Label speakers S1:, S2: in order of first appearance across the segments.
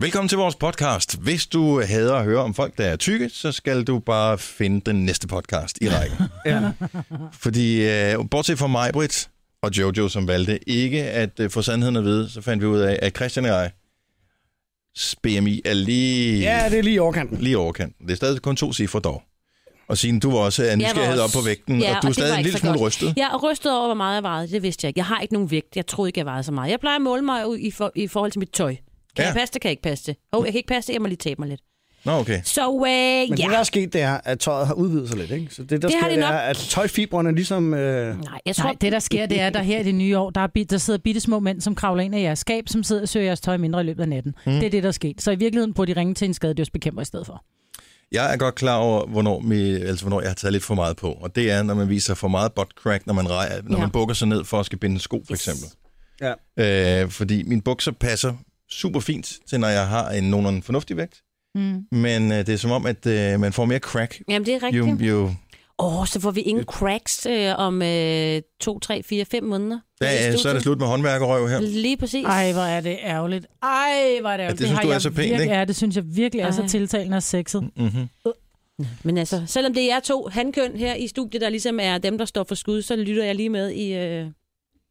S1: Velkommen til vores podcast. Hvis du hader at høre om folk, der er tykke, så skal du bare finde den næste podcast i rækken.
S2: Ja.
S1: Fordi øh, bortset fra mig, Britt og Jojo, som valgte ikke at øh, få sandheden at vide, så fandt vi ud af, at Christian og jeg, BMI er lige,
S2: ja, det er lige i overkanten.
S1: lige overkanten. Det er stadig kun to cifre dog. Og Signe, du var også af
S3: Jeg var
S1: nysgerrighed op
S3: også-
S1: på vægten,
S3: Ja,
S1: og
S3: og
S1: du er
S3: det
S1: stadig
S3: var
S1: en
S3: ikke
S1: lille
S3: så
S1: smule
S3: godt.
S1: rystet.
S3: Jeg er rystet over, hvor meget jeg vejede. Det vidste jeg ikke. Jeg har ikke nogen vægt. Jeg troede ikke, jeg vejede så meget. Jeg plejer at måle mig ud i, for, i forhold til mit tøj. Kan
S1: Ja.
S3: ja. jeg passe det? Kan jeg ikke passe det? Åh, oh, jeg kan ikke passe det. Jeg må lige tabe mig lidt.
S1: Nå, okay.
S3: Så øh, ja.
S2: Men det, der er sket, det er, at tøjet har udvidet sig lidt. Ikke? Så det, der
S3: Det har
S2: sker,
S3: det
S2: det
S3: nok.
S2: er, at tøjfibrene ligesom... Øh,
S3: Nej, jeg tror,
S4: Nej, det der sker, det er, at der her i det nye år, der, er, bi- der sidder bitte små mænd, som kravler ind af jeres skab, som sidder og søger jeres tøj mindre i løbet af natten. Mm. Det er det, der er sket. Så i virkeligheden burde de ringe til en skadedyrsbekæmper i stedet for.
S1: Jeg er godt klar over, hvornår, mi, altså, hvornår jeg har taget lidt for meget på. Og det er, når man viser for meget butt crack, når man, rej, når
S3: Ja.
S1: man bukker sig ned for at skal binde sko, for
S3: Yes.
S1: eksempel.
S2: ja.
S1: Øh, fordi mine bukser passer super fint til, når jeg har en nogenlunde fornuftig vægt.
S4: Mm.
S1: Men øh, det er som om, at øh, man får mere crack.
S3: Jamen, det er rigtigt.
S1: Jo, jo,
S3: Åh, oh, så får vi ingen cracks øh, om øh, to, tre, fire, fem måneder.
S1: ja, ja, så er det slut med håndværkerøv her.
S3: Lige præcis.
S4: Ej, hvor er det ærgerligt. Ej, hvor er det ærgerligt.
S1: det synes
S4: har
S1: du er
S4: jeg
S1: så pænt,
S4: virke-
S1: ikke?
S4: Ja, det synes jeg virkelig er
S3: Ej.
S4: så tiltalende og sexet.
S1: Mm-hmm.
S3: Men altså, selvom det er jer to handkøn her i studiet, der ligesom er dem, der står for skud, så lytter jeg lige med i, øh,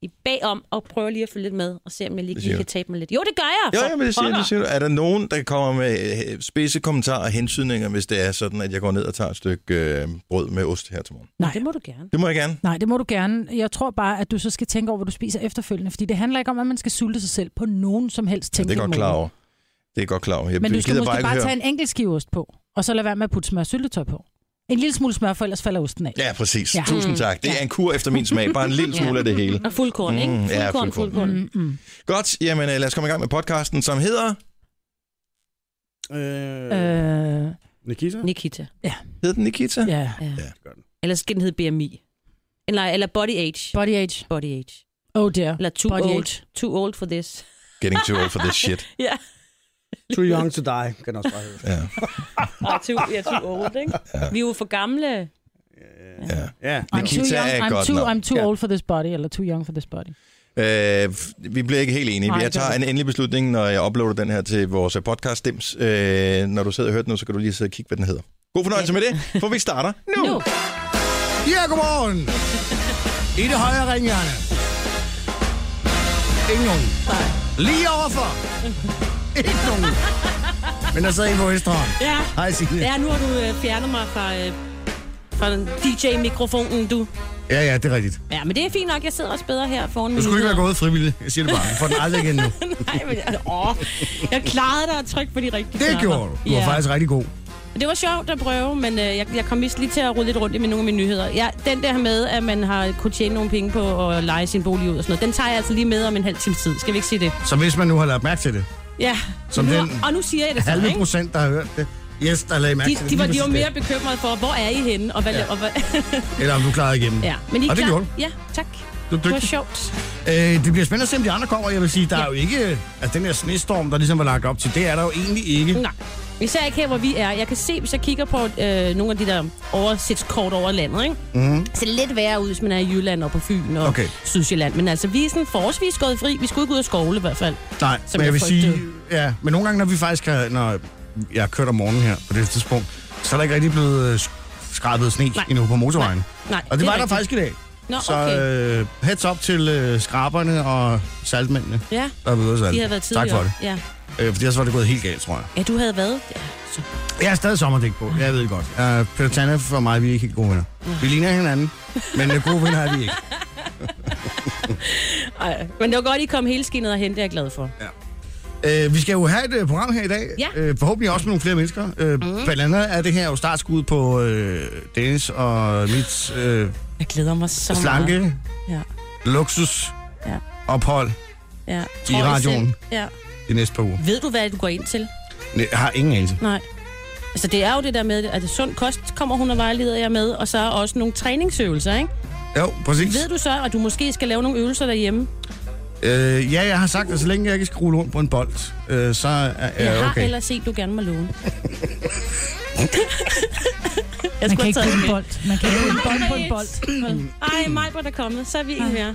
S3: i bagom og prøver lige at følge lidt med og se, om jeg lige,
S1: Det siger
S3: lige
S1: du.
S3: kan tabe mig lidt. Jo, det gør jeg!
S1: Jo,
S3: for
S1: ja, men det siger,
S3: pokker.
S1: det siger du. Er der nogen, der kommer med øh, spidse kommentarer og hensydninger, hvis det er sådan, at jeg går ned og tager et stykke øh, brød med ost her til morgen?
S3: Nej, det må du gerne.
S1: Det må jeg gerne.
S4: Nej, det må du gerne. Jeg tror bare, at du så skal tænke over, hvad du spiser efterfølgende, fordi det handler ikke om, at man skal sulte sig selv på nogen som helst
S1: Ja, det er
S4: tænkelig
S1: jeg godt
S4: måde.
S1: klar over. Det er jeg godt klar over. Jeg
S4: Men du skal
S1: gider
S4: måske bare,
S1: ikke høre-
S4: tage en enkelt skiveost på, og så lade være med at putte smør og syltetøj på. En lille smule smør, for ellers falder osten af.
S1: Ja, præcis. Ja.
S4: Ja.
S1: Tusind tak. Det er en kur efter min smag. Bare en lille smule af det hele.
S3: Og fuldkorn,
S1: Mm,
S3: ikke?
S1: ja,
S3: Fuldkorn,
S1: fuldkorn.
S3: fuldkorn. fuldkorn. Mm.
S4: Mm-mm.
S1: Godt, jamen øh, lad os komme i gang med podcasten, som hedder...
S2: Øh, øh.
S4: Øh,
S2: Nikita?
S3: Nikita.
S1: Hed den Nikita? Ja.
S4: ja.
S3: Ja.
S1: Ja.
S3: ja. Eller skal den hedde BMI? Eller, eller Body Age.
S4: Body age.
S3: Body Age.
S4: Oh dear.
S3: Eller Too
S4: Body
S3: Old.
S4: age.
S3: Too Old for this.
S1: Getting too old for this shit.
S3: ja.
S2: Too young to die, kan den også bare hedde.
S1: Ja,
S3: Og too, ja, too old, ikke?
S1: Ja.
S3: Ja. Vi er jo for gamle.
S1: ja.
S2: Ja.
S4: I'm
S1: Nikita
S4: too, young,
S1: er
S4: I'm,
S1: godt
S4: too,
S1: nok.
S4: I'm too
S2: Ja.
S4: old for this body, eller too young for this body.
S1: Øh, f- vi bliver ikke helt enige.
S4: Nej,
S1: Jeg
S4: det gør
S1: tager
S4: vi
S1: en
S4: ikke.
S1: endelig beslutning, når jeg uploader den her til vores podcast Dims. Øh, når du sidder og hører den nu, så kan du lige sidde og kigge, hvad den hedder. God fornøjelse med det, for vi starter nu.
S3: Nu.
S2: Ja, godmorgen! I det højre ringhjørne. Ingen nogen. Lige overfor. Ikke nogen. Men der sidder en på venstre hånd.
S3: Ja.
S2: Hej Signe.
S3: Ja, nu har du øh, fjernet mig fra, øh, fra den DJ-mikrofonen, du.
S2: Ja, ja, det er rigtigt.
S3: Ja, men det er fint nok. Jeg sidder også bedre her foran
S2: Du
S3: min...
S2: skulle ikke være gået frivilligt. Jeg siger det bare. Du får den aldrig igen nu.
S3: Nej, men jeg, åh, jeg klarede dig at trykke på de rigtige
S2: Det
S3: knapper.
S2: gjorde du. Du var
S3: Ja.
S2: faktisk rigtig god.
S3: Det var sjovt at prøve, men øh, jeg, jeg kom vist lige til at rode lidt rundt i mine- nogle af mine nyheder. Jeg, den der med, at man har kunne tjene nogle penge på at lege sin bolig ud og sådan noget, den tager jeg altså lige med om en halv times tid. Skal vi ikke sige det?
S2: Så hvis man nu har lagt mærke til det,
S3: Ja.
S2: Som
S3: nu,
S2: den
S3: og nu siger jeg det så,
S2: halve
S3: ikke?
S2: procent, der har hørt det, yes, der lagde mærke
S3: De,
S2: til det.
S3: de, var,
S2: lige
S3: de var
S2: præcis
S3: mere bekymrede for, hvor er I henne? Og hvad, ja. og hvad,
S2: det. Eller om du klarede igennem.
S3: ja. Men I er
S2: og det
S3: klar?
S2: gjorde du.
S3: Ja, tak.
S2: Du er
S3: Det var
S2: dygtig.
S3: sjovt.
S2: Øh, det bliver spændende at se, om de andre kommer. Jeg vil sige, der ja. er jo ikke... Altså, den her snestorm, der ligesom var lagt op til, det er der jo egentlig ikke.
S3: Nej. Især ikke her, hvor vi er. Jeg kan se, hvis jeg kigger på øh, nogle af de der oversigtskort over landet, ikke? Mm. Så lidt værre ud, hvis man er i Jylland og på Fyn og
S2: Mhm. Okay.
S3: okay. Sydsjælland. Men altså, vi er sådan forholdsvis gået fri. Vi skulle ikke ud og skovle i hvert fald.
S2: Nej,
S3: Som
S2: men jeg,
S3: jeg
S2: vil sige...
S3: frygtede.
S2: Ja, men nogle gange, når vi faktisk har... Når jeg har kørt om morgenen her på det her tidspunkt, så er der ikke rigtig blevet øh, skrabet sne
S3: Nej.
S2: endnu på motorvejen.
S3: Nej,
S2: Og det, det var
S3: rigtigt.
S2: der faktisk i dag.
S3: Nå,
S2: Så
S3: okay.
S2: øh, heads up til øh, skraberne og saltmændene,
S3: ja,
S2: der er ved at salte.
S3: de har været tidligere.
S2: Tak for det.
S3: Ja,
S2: Øh, for ellers var det gået helt galt, tror jeg.
S3: ja du havde været. Ja, så.
S2: Jeg har stadig sommerdæk på, jeg ved det godt. Mm. Uh, Peter Tanne for mig, vi er ikke helt gode venner. Vi ligner hinanden, men øh, gode venner er vi ikke.
S3: Ej. Men det var godt, I kom hele skinnet og hente, jeg er glad for.
S2: Øh, vi skal jo have et øh, program her i dag.
S3: Ja.
S2: Øh, forhåbentlig også med nogle flere mennesker. Øh, mm. Blandt andet er det her jo startskud på øh, Dennis og mit øh,
S3: Jeg glæder mig så
S4: Altså,
S3: meget.
S2: slanke
S3: Ja.
S2: luksus
S3: Ja.
S2: ophold
S3: Ja.
S2: I
S3: jeg
S2: radioen.
S3: selv. Ja.
S2: de næste par uger.
S3: Ved du, hvad du går ind til?
S2: Nej, Jeg har ingen anelse.
S3: Nej. Altså, det er jo det der med, at det sund kost kommer hun og vejleder jer med, og så er også nogle træningsøvelser, ikke?
S2: Jo, præcis.
S3: Ved du så, at du måske skal lave nogle øvelser derhjemme?
S2: Øh, ja, jeg har sagt, at så længe jeg ikke skal rulle rundt på en bold, øh, så er
S3: Jeg
S2: jeg
S3: har
S2: okay.
S3: ellers set, du gerne må låne. jeg
S4: Man kan
S3: have
S4: ikke putte
S3: taget
S4: en bold. Man kan ikke putte en bold på en bold. Mm.
S3: Ej, Majbert er kommet. Så er vi en mere.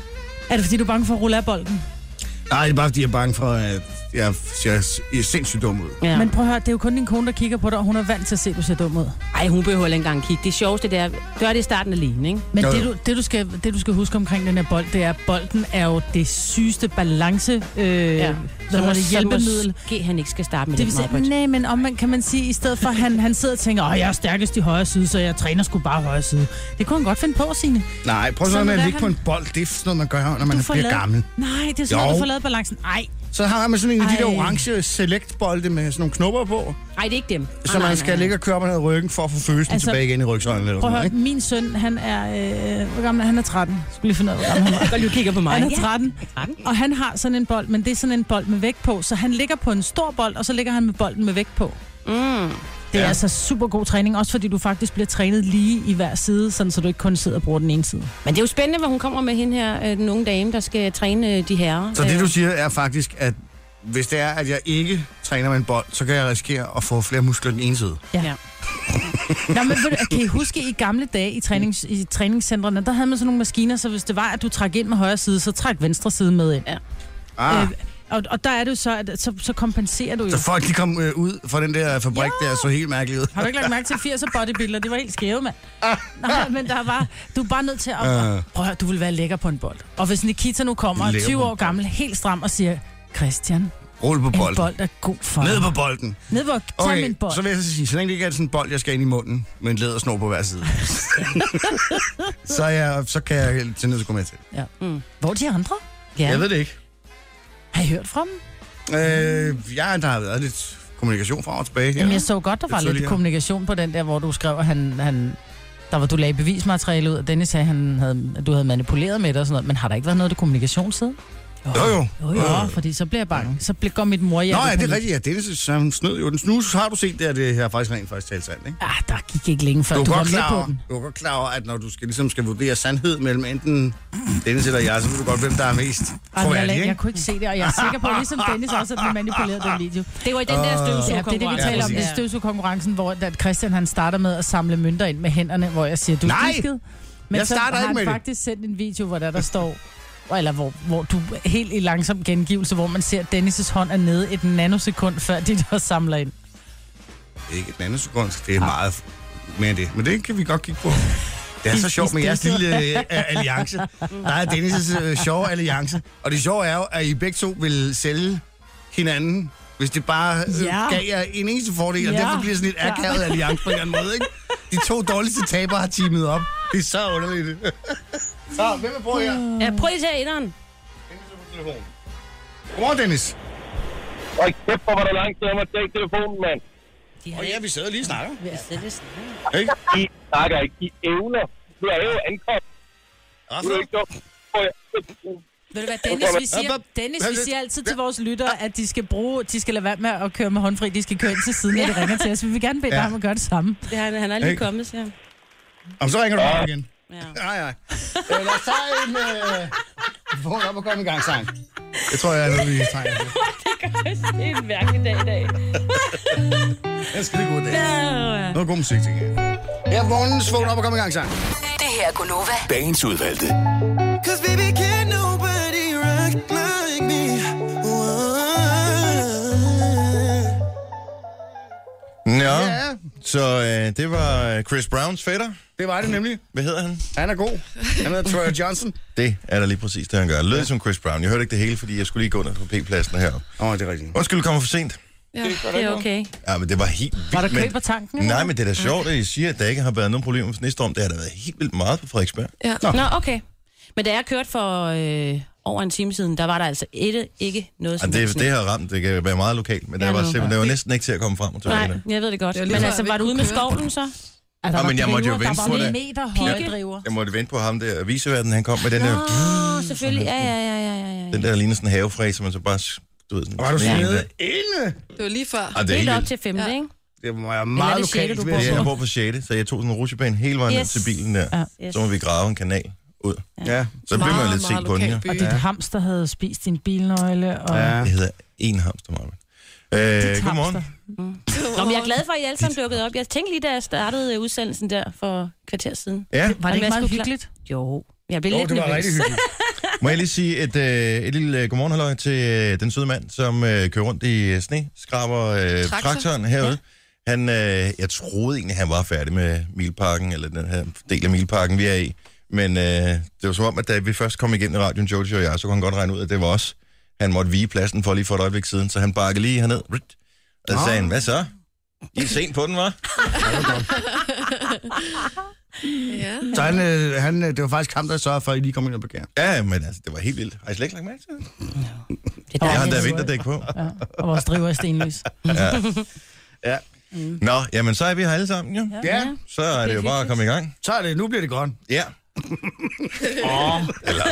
S4: Er det, fordi du er bange for at rulle af bolden?
S2: Nej, det er bare, fordi jeg er bange for, at jeg ser jeg er sindssygt dum ud.
S3: Ja.
S4: Men
S3: Men
S4: prøv at høre, det er jo kun din kone, der kigger på dig, og hun er vant til at se, at du ser dum ud.
S3: ej, hun behøver ikke engang kigge. Det sjoveste, det er, gør det i starten alene, ikke?
S4: Men
S2: Jo, jo.
S4: det du, det, du skal, det, du skal huske omkring den her bold, det er, at bolden er jo det sygeste balance øh, ja. hvad hedder det, hjælpemiddel.
S3: Måske han ikke skal starte med
S4: Det
S3: det,
S4: vil
S3: det
S4: sige, nej, men om man kan man sige, i stedet for, at han, han sidder og tænker, åh, jeg er stærkest i højre side, så jeg træner sgu bare højre side. Det kunne han godt finde på, sine.
S2: Nej, prøv sådan,
S4: Sådan
S2: sådan
S4: er
S2: at ligge på
S4: han.
S2: en bold. Det er sådan noget, man gør, når man
S4: Du
S2: bliver
S4: får lavet-
S2: gammel.
S4: Nej, det er sådan,
S2: Jo.
S4: at du får lavet balancen. Nej,
S2: Så har man sådan en af de der
S4: Ej.
S2: orange select-bolde med sådan nogle knopper på,
S3: Nej, det er ikke dem.
S2: så man skal ligge og køre op og ned ad ryggen for at få følelsen
S4: Altså,
S2: tilbage igen i rygsøjlen. Eller
S4: prøv
S2: sådan noget,
S4: at høre,
S2: ikke?
S4: min søn, han er, øh, hvor gammel er han? Han er 13. Skulle lige finde ud af, hvor gammel han er.
S3: Godt, du kigger på mig.
S4: Han er 13,
S3: Ja.
S4: og han har sådan en bold, men det er sådan en bold med vægt på, så han ligger på en stor bold, og så ligger han med bolden med vægt på.
S3: Mm.
S4: Det er
S2: Ja.
S4: ja. altså super god træning, også fordi du faktisk bliver trænet lige i hver side, sådan så du ikke kun sidder og bruger den ene side.
S3: Men det er jo spændende, hvad hun kommer med hende her, øh, den unge dame, der skal træne øh, de herrer.
S2: Så det,
S3: Øh,
S2: du siger, er faktisk, at hvis det er, at jeg ikke træner med en bold, så kan jeg risikere at få flere muskler end den ene side.
S4: Nå, men ved du, kan I huske i gamle dage i, trænings, i træningscentrene, der havde man sådan nogle maskiner, så hvis det var, at du trak ind med højre side, så træk venstre side med ind.
S2: Ah,
S4: Øh, og, og der er det jo så, at så, så kompenserer du jo.
S2: så folk de kom øh, ud fra den der fabrik, der så helt mærkeligt ud.
S4: Har du ikke lagt mærke til 80'er bodybuilder? Det var helt skæve, mand.
S2: Ah.
S4: Nej, men der var, du er bare nødt til at...
S2: Øh.
S4: Prøv at høre, du vil være lækker på en bold. Og hvis Nikita nu kommer,
S2: Lækker
S4: 20
S2: på en
S4: år gammel, helt stram og siger, Christian, en
S2: Rul på bolden.
S4: bold er god for
S2: Ned
S4: dig."
S2: på bolden.
S4: Ned på, tag okay, min bold.
S2: så vil jeg så sige, så længe det ikke er sådan en bold, jeg skal ind i munden med en lædersnor på hver side. så, jeg, så kan jeg helt til nødt til at gå med til.
S4: Ja. Mm. Hvor er de andre?
S3: Ja.
S2: Jeg ved det ikke.
S4: Har I hørt fra dem? Ja.
S2: Øh, jeg, der har været lidt kommunikation fra og tilbage her.
S4: Jamen, jeg så godt, der
S2: Det
S4: var
S2: så lige
S4: lidt
S2: her.
S4: kommunikation på den der, hvor du skrev, at han, han, der var du lagde bevismateriale ud, og Dennis sagde, han havde, at du havde manipuleret med det og sådan noget. Men har der ikke været noget til kommunikation siden?
S2: Jo, jo.
S4: Jo, jo, fordi så bliver jeg bange. Så bliver, går mit mor
S2: Nå ja, det er rigtigt. Ja, Dennis, så han snød jo den snus. Har du set det, at det her er faktisk rent faktisk talt sandt, ikke?
S4: Ah, der gik ikke længe før,
S2: Du
S4: du,
S2: er,
S4: var
S2: godt klar
S4: med
S2: over,
S4: på den.
S2: du er godt klar over, at når du skal, ligesom skal vurdere sandhed mellem enten Dennis eller jeg, så ved du godt, hvem der er mest
S4: Ej, men jeg,
S2: troværdig,
S4: lag, jeg
S2: ikke?
S4: kunne ikke se det, og jeg er sikker på, ligesom Dennis også, at den manipulerede den video.
S3: Det var i den der
S2: Ah.
S4: Ja, det er det, vi
S3: støvsugerkonkurrence.
S4: taler om. Det er støvsugerkonkurrencen, hvor at Christian han starter med at samle mønter ind med hænderne, hvor jeg siger, du er
S2: Nej!
S4: disket. Men
S2: Jeg starter
S4: så har
S2: ikke med
S4: han
S2: det.
S4: faktisk sendt en video, hvor der, der står, eller hvor, hvor du helt i langsom gengivelse, hvor man ser, at Dennis' hånd er nede et nanosekund, før de der samler ind.
S2: Ikke et andet sekund, det er meget mere end det. Men det kan vi godt kigge på. Det er så sjovt med jeres lille øh, alliance. Der er Dennis' øh, sjove alliance. Og det sjove er jo, at I begge to vil sælge hinanden, hvis det bare øh,
S4: Ja.
S2: gav jer en eneste fordel. Og
S4: Ja.
S2: derfor bliver sådan et
S4: Ja.
S2: akavet alliance på en eller anden måde, ikke? De to dårligste tabere har teamet op. Det er så underligt. så, hvem er på her?
S4: Mm.
S3: Ja, prøv lige at tage etteren.
S2: telefon. Godmorgen, Dennis.
S5: Og kæft, hvor var der lang tid om at tage telefonen, mand.
S3: De har
S2: Og ja, vi sidder lige og snakker.
S3: ikke siddet og snakket.
S2: Ikke?
S5: I snakker ikke. I evner. Du er jo ankommet.
S2: Ah,
S5: Du er ikke dum. Prøv at-
S4: Ved du hvad, Dennis, vi siger,
S2: Hop, hop.
S4: Dennis,
S2: Hvad
S4: vi
S2: er det?
S4: siger altid til vores lyttere, at de skal bruge, de skal lade være med at køre med håndfri, de skal køre ind til siden, når de ringer til os. Vi vil gerne bede
S2: Ja.
S4: dig om at gøre det samme.
S3: Det har, han er lige
S2: Ikke?
S3: kommet, siger han.
S2: Om så ringer du bare igen.
S3: Ja.
S2: Nej, nej. Øh, Lad os tage en... Øh, få en op og komme i gang sang. Jeg tror, jeg er noget, vi tegner til.
S3: Det er en mærkelig dag i dag.
S2: Jeg skal lige god dag. Noget god musik, tænker jeg. Her er vågnens vågn op og komme i gang sang.
S6: Det her er Gunova.
S7: Dagens udvalgte.
S8: Cause baby, can nobody rock like me. Whoa.
S1: Nå,
S2: Ja.
S1: så øh, det var øh, Chris Browns fætter.
S2: Det var det nemlig.
S1: Hvad hedder han?
S2: Han er god. Han hedder Troy Johnson.
S1: Det er da lige præcis det, han gør. Lød som Chris Brown. Jeg hørte ikke det hele, fordi jeg skulle lige gå ned på P-pladsen heroppe.
S2: Åh, oh, det er rigtigt.
S1: Undskyld, du kommer for sent.
S3: Ja, det er okay.
S1: Ja, men det var helt vildt.
S4: Var der
S1: men-
S4: kø på tanken? eller
S1: Nej,
S4: hvad?
S1: men det er da sjovt, at I siger, at der ikke har været nogen problemer med snestorm. Det har da været helt vildt meget på Frederiksberg.
S4: Altså,
S3: Ja. Nå, okay. Men da jeg kørte for øh, over en time siden, der var der altså et, ikke noget
S1: Ja,
S3: som helst
S1: det,
S3: sne.
S1: det har ramt, det kan være meget lokalt, men der
S3: Ja,
S1: var,
S3: nu.
S1: simpelthen, der var næsten ikke til at komme frem og tilbage.
S3: Nej, jeg ved det godt.
S9: Det er
S3: Det
S9: lige
S3: men
S9: før,
S3: altså,
S9: vi
S3: var du
S9: ikke
S3: ude med
S9: kunne køre.
S3: skoven så?
S4: Ja,
S1: Nå,
S4: der var
S1: Altså, men jeg måtte jo
S4: driver,
S1: vente
S4: der
S1: på
S4: var
S1: det.
S4: meter høje
S3: Pigge.
S4: driver.
S1: Jeg måtte vente på ham der, viseverden, han kom med den der,
S3: Åh, Ah, selvfølgelig. Ja, ja, ja, ja, ja, ja.
S1: den der ligner sådan en havefræ, som man så bare, du ved, sådan,
S2: Var du
S1: smed ind
S2: snede
S1: der.
S2: inde?
S9: Det var lige før.
S1: Ej, det er
S3: Helt
S1: helt
S3: op
S1: vildt.
S3: til femte,
S9: Ja.
S3: ikke?
S2: Det var jeg meget
S3: Eller det sjette,
S2: lokalt.
S3: du
S2: vil jeg
S1: Ja,
S3: bor
S1: jeg
S2: sige.
S1: bor på 6., så jeg tog sådan en rutsjebane hele vejen yes.
S3: Yes.
S1: til bilen der.
S4: Ja.
S1: Så må vi grave en kanal ud.
S2: Ja.
S1: Så blev man lidt sent på den her.
S4: Og dit hamster havde spist din bilnøgle. Og...
S2: Ja.
S4: Ja.
S1: Det hedder en hamster, Marvin. Øh, godmorgen.
S3: Nå, men jeg er glad for, at I alle sammen dukkede op. Jeg tænkte lige, da jeg startede øh, udsendelsen der for et kvarter siden.
S1: Ja,
S4: Var det
S3: Jamen,
S4: ikke
S3: jeg
S4: meget
S3: skulle
S4: hyggeligt?
S3: Jo, jeg blev
S2: Jo,
S3: lidt
S2: det var
S3: nervøs.
S2: rigtig hyggeligt.
S1: Må jeg lige sige et, øh, et lille øh, godmorgen halløj til øh, den søde mand, som øh, kører rundt i øh, sne, skraber øh,
S6: Traktor.
S1: traktoren herude. Ja. Han, øh, jeg troede egentlig, han var færdig med milparken, eller den her del af milparken, vi er i. Men øh, det var som om, at da vi først kom igennem i radioen, Jojo og jeg, så kunne han godt regne ud, at det var os. Han måtte vige pladsen for lige for et øjeblik siden, så han bakkede lige herned. Og så sagde han, hvad så? I er sent på den, var?
S6: Ja.
S2: Så han, øh, han, øh, det var faktisk ham, der sørgede for, at I lige kom ind og begær.
S1: Ja, men altså, det var helt vildt. Har I slet ikke lagt mærke til det?
S4: Det
S1: Jeg har endda vinterdæk på.
S4: Ja, og vores driver er stenløs.
S1: Nå, jamen så er vi her alle sammen, jo. Ja.
S2: Ja,
S1: Så er det jo bare at komme i gang.
S2: så er det. Nu bliver det godt.
S1: Ja. Åh, eller...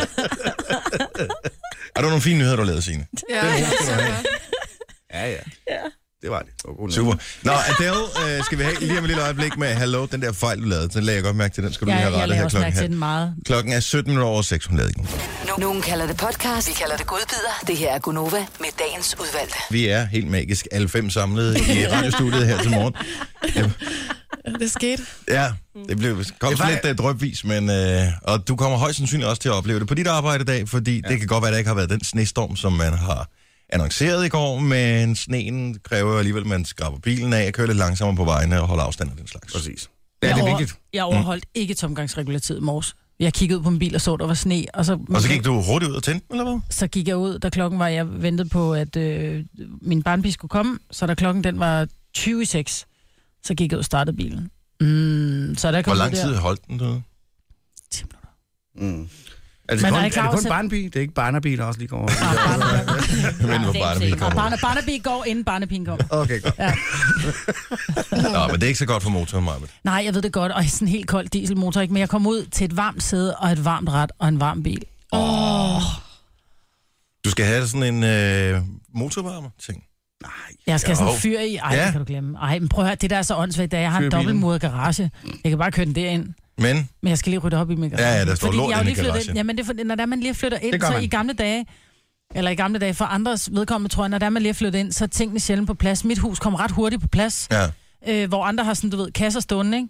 S1: er der nogle fine nyheder, du har lavet, Signe?
S6: Ja,
S2: Ja, ja. Det var det. det var god nok.
S1: Super. Nå, Adele øh, skal vi have lige om et lille øjeblik med Hello, den der fejl, du lavede. Den lagde jeg godt mærke til. Den skal du
S4: Ja,
S1: lige have
S4: jeg
S1: rettet
S4: laver
S1: her
S4: også
S1: klokken
S4: mærke til
S1: her.
S4: den meget.
S1: Klokken er 17 minutter over 6, hun lavede den.
S7: Nogen kalder det podcast, vi kalder det godbider. Det her er Gunova med dagens udvalgte.
S1: Vi er helt magisk alle fem samlet i radiostudiet her til morgen.
S6: det skete.
S1: Ja, det blev kom
S2: var-
S1: lidt uh, drøbvis, men øh, og du kommer højst sandsynligt også til at opleve det på dit arbejde i dag, fordi ja. det kan godt være, at der ikke har været den snestorm, som man har annonceret i går, men sneen kræver alligevel, at man skraber bilen af, kører lidt langsommere på vejene og holder afstand og den slags.
S2: Præcis. Ja, det
S4: Jeg
S2: er
S4: over-
S2: vigtigt.
S4: Jeg
S1: Mm.
S4: overholdt ikke tomgangsregulativet i morges. Jeg kiggede ud på min bil og så, der var sne, og så,
S1: Og så gik du hurtigt ud og tændte den, eller hvad?
S4: så gik jeg ud, da klokken var, jeg ventede på, at øh, min barnbil skulle komme, så da klokken den var 20 i 6, så gik jeg ud og startede bilen. Mm, så da jeg kom
S1: Hvor
S4: ud
S1: lang tid
S4: Der,
S1: holdt den derude?
S4: 10 minutter.
S2: Mm. Er det,
S4: Men
S2: kun,
S4: er I
S2: er,
S4: klar
S2: det
S4: over,
S2: kun
S4: så-
S2: barnbil? Det er ikke barnebil, der også lige kommer
S4: Ah, Barnaby-
S1: Men hvor
S3: det er
S1: bare
S3: ikke
S1: det,
S4: ah,
S1: kommer ud.
S4: Barna- Barnaby går, inden barnepigen kommer.
S2: Okay, godt.
S1: Nå, men det er ikke så godt for motoren, Marvitt.
S4: Nej, jeg ved det godt, og sådan en helt kold dieselmotor, ikke? men jeg kom ud til et varmt sæde og et varmt ret og en varm bil.
S1: Du skal have sådan en øh, motorvarmer-ting.
S4: Jeg skal have sådan
S1: Jo.
S4: en fyr i. Ej,
S1: Ja.
S4: ja. det kan du glemme. Ej, men prøv at høre, det der er så åndsvagt, da jeg har
S2: Fyr i
S4: en
S2: bilen.
S4: dobbeltmuret garage. Jeg kan bare køre den derind,
S1: Men
S4: men jeg skal lige rydde op i min garage.
S1: Ja, ja, der står
S4: Fordi
S1: lort
S4: jeg har jo
S1: inde i
S4: lige flyttet
S1: garagen.
S4: Ind. Jamen, det er, fordi, når der man lige flytter ind,
S2: Det gør
S4: så
S2: man.
S4: i gamle dage, eller i gamle dage, for andres vedkommende, tror jeg, når der man lige flytter ind, så er tingene sjældent på plads. Mit hus kom ret hurtigt på plads,
S1: ja,
S4: øh, hvor andre har sådan, du ved, kasser stående, ikke?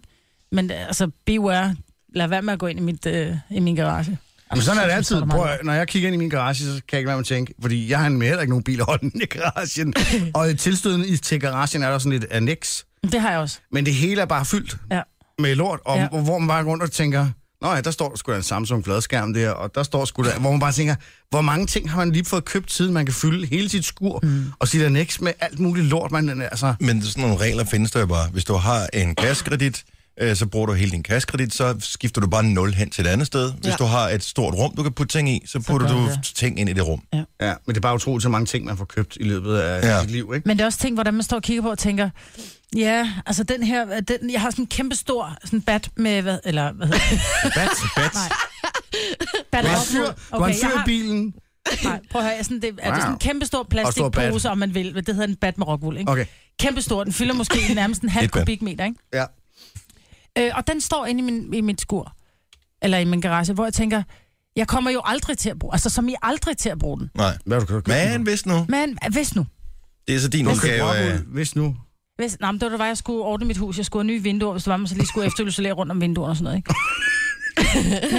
S4: Men øh, altså, beware. Lad være med at gå ind i, mit, øh, i min garage.
S2: Jamen, sådan er det
S4: Så-
S2: altid.
S4: så står der
S2: Prøv,
S4: mange-
S2: at- når jeg kigger ind i min garage, så kan jeg ikke være med at tænke, fordi jeg har nemlig heller ikke nogen bil holdende i garagen. Og i tilstødende i- til garagen er der sådan et annex,
S4: Det har jeg også.
S2: men det hele er bare fyldt
S4: Ja.
S2: med lort, og
S4: Ja.
S2: ja. hvor man bare går rundt og tænker, Nå ja, der står sgu da en Samsung fladskærm der, og der står sgu da, hvor man bare tænker, hvor mange ting har man lige fået købt, siden man kan fylde hele sit skur mm. og sit annex med alt muligt lort, man altså...
S1: Men sådan nogle regler findes der jo bare. Hvis du har en kaskredit, øh, så bruger du hele din kaskredit, så skifter du bare 0 hen til et andet sted. Hvis ja.
S6: Ja.
S1: du har et stort rum, du kan putte ting i, så putter
S4: gør
S1: du
S4: jeg det.
S1: ting ind i det rum.
S2: Ja, men det er bare utroligt, så mange ting, man får købt i løbet af
S1: Ja.
S2: ja. sit liv, ikke?
S4: Men det er også ting, hvordan man står og kigger på og tænker, ja, altså den her, den, jeg har sådan en kæmpe stor sådan bat med, hvad, eller hvad hedder det?
S2: Bat, bat.
S4: Nej. Bat
S2: Du har
S4: op
S2: en fyr,
S4: mod-
S2: du har en
S4: jeg
S2: fyr i
S4: har-
S2: bilen.
S4: Nej, prøv at høre, jeg er sådan, det, er det sådan en kæmpe stor
S2: stor bat.
S4: plastikpose, om man vil, det hedder en bat med rockwool, ikke?
S2: Okay.
S4: Kæmpe stor, den fylder måske nærmest en halv
S1: Et bat.
S4: kubikmeter, ikke?
S2: Ja.
S4: Øh, og den står inde i, min, i mit skur, eller i min garage, hvor jeg tænker, jeg kommer jo aldrig til at bruge, altså som I aldrig til at bruge den.
S1: Nej.
S2: Hvad har du købt?
S1: Men hvis nu,
S4: Men hvis nu,
S1: det er så din
S2: Du har købt
S1: opgave. øh,
S2: rockwool, hvis nu.
S4: Hvis, nej, men det var, da jeg skulle ordne mit hus. Jeg skulle have nye vinduer, hvis det var, man så lige skulle efterisolere rundt om vinduerne og sådan noget,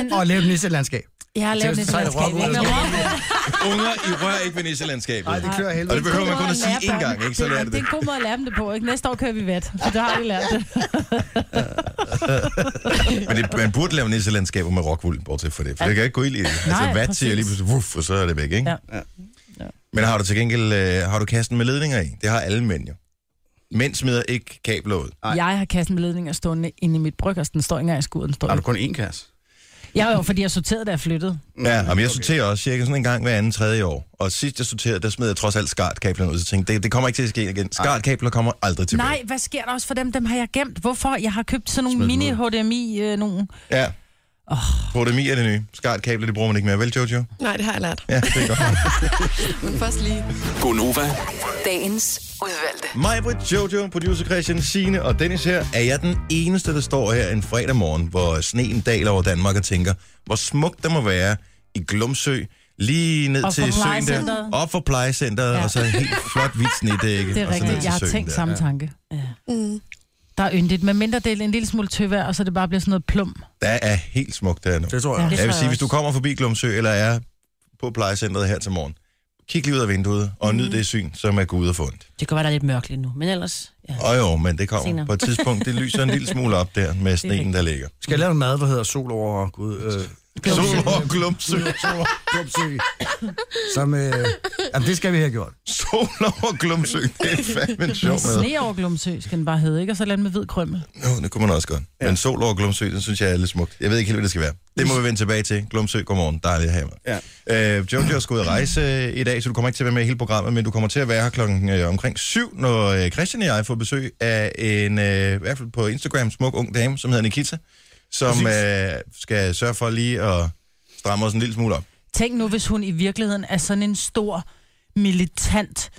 S4: ikke?
S2: Og lave et nisselandskab.
S4: Jeg har lavet
S2: Så-
S4: lidt
S2: så er det
S4: landskab.
S2: rockwood,
S4: Ikke?
S2: der skal
S1: Unger, I rører ikke ved nisselandskabet.
S2: Nej, det klør af
S1: Og
S2: helvede.
S1: det behøver man kun at
S4: Det er en
S1: sige
S4: god måde
S1: én
S4: lære
S1: gang,
S4: børn.
S1: ikke? Så lærer det
S4: det, det
S1: det.
S4: er en god måde at lære dem det på, ikke? Næste år kører vi vat, for det har de lært det.
S1: Men det, man burde lave nisselandskaber med rockwool, bortset for det. For det kan ikke gå ild i det. Altså,
S4: Nej,
S1: vat siger
S4: præcis.
S1: lige pludselig, wuff, og så er det væk, ikke?
S4: Ja.
S1: Men har du til gengæld, øh, har du kassen med ledninger i? Det har alle mænd jo. Mænd smider ikke kabler ud.
S2: Ej.
S4: Jeg har kassen med ledninger stående inde i mit bryggers. Den står ikke engang i skuret, den står
S2: Har du
S4: ikke.
S2: kun én kasse?
S4: Jeg er jo, fordi jeg sorterede, da jeg flyttede.
S1: Ja, men jeg sorterer også cirka sådan en gang hver anden tredje år. Og sidst jeg sorterede, der smed jeg trods alt skartkablerne ud. Så tænkte jeg, det, det kommer ikke til at ske igen. Skartkabler kommer aldrig tilbage.
S4: Nej, hvad sker der også for dem? Dem har jeg gemt. Hvorfor? Jeg har købt sådan nogle
S2: Smid dem
S4: mini-HDMI, øh, nogle...
S1: Ja. Oh. Protemi er det nye. Skartkabler, det bruger man ikke mere. Vel, Jojo?
S6: Nej, det har jeg lært.
S1: Ja, det er godt.
S6: Men først lige.
S9: Gonova.
S7: Dagens udvalgte.
S1: Mig, Britt, Jojo, producer Christian, Signe og Dennis her. Er jeg den eneste, der står her en fredag morgen, hvor sneen daler over Danmark og tænker, hvor smukt det må være i Glumsø, lige ned
S4: Op
S1: til
S4: for
S1: søen der,
S4: plejecenteret.
S1: op for plejecenteret, ja.
S4: Ja.
S1: og så helt flot hvidt snedække.
S4: Det er
S1: og så ned
S4: rigtigt.
S1: til
S4: Jeg har
S1: søen
S4: tænkt
S1: der.
S4: samme tanke. Ja. Der er yndigt, men mindre del en lille smule tøvær, og så det bare bliver sådan noget plum.
S1: Der er helt smukt der nu.
S2: Det tror jeg.
S4: Ja.
S1: Jeg vil
S4: tror
S1: sige,
S4: jeg
S1: hvis du
S4: også.
S1: kommer forbi Glumsø, eller er på plejecentret her til morgen. Kig lige ud af vinduet og
S4: Mhm.
S1: nyd det syn, som er Gud og fundet.
S3: Det kan godt være, der er lidt mørkt lige nu, men ellers... Ja.
S1: Og jo, men det kommer
S3: Senere.
S1: på et tidspunkt. Det lyser en lille smule op der med sneen, der ligger.
S2: Skal jeg lave en mad, der hedder sol over Gud? Øh,
S1: Sol over Glumsø.
S2: sol over Glumsø. Som, øh, jamen, det skal vi have gjort.
S1: Sol over Glumsø. Det er fandme en sjov mad.
S4: Sne over Glumsø skal den bare hedde, ikke? Og så land med hvid krømmel.
S1: Jo, det kunne man også godt. Ja. Men sol over Glumsø, den synes jeg er lidt smukt. Jeg ved ikke helt, hvad det skal være. Det må vi vende tilbage til. Glumsø, godmorgen. Dejligt at have mig. Ja. Øh, Jojo skal ud at rejse øh, i dag, så du kommer ikke til at være med i hele programmet, men du kommer til at være her klokken øh, omkring syv, når øh, Christian og jeg får besøg af en, øh, i hvert fald på Instagram, smuk ung dame, som hedder Nikita, som øh, skal sørge for lige at stramme os en lille smule op.
S4: Tænk nu, hvis hun i virkeligheden er sådan en stor militant,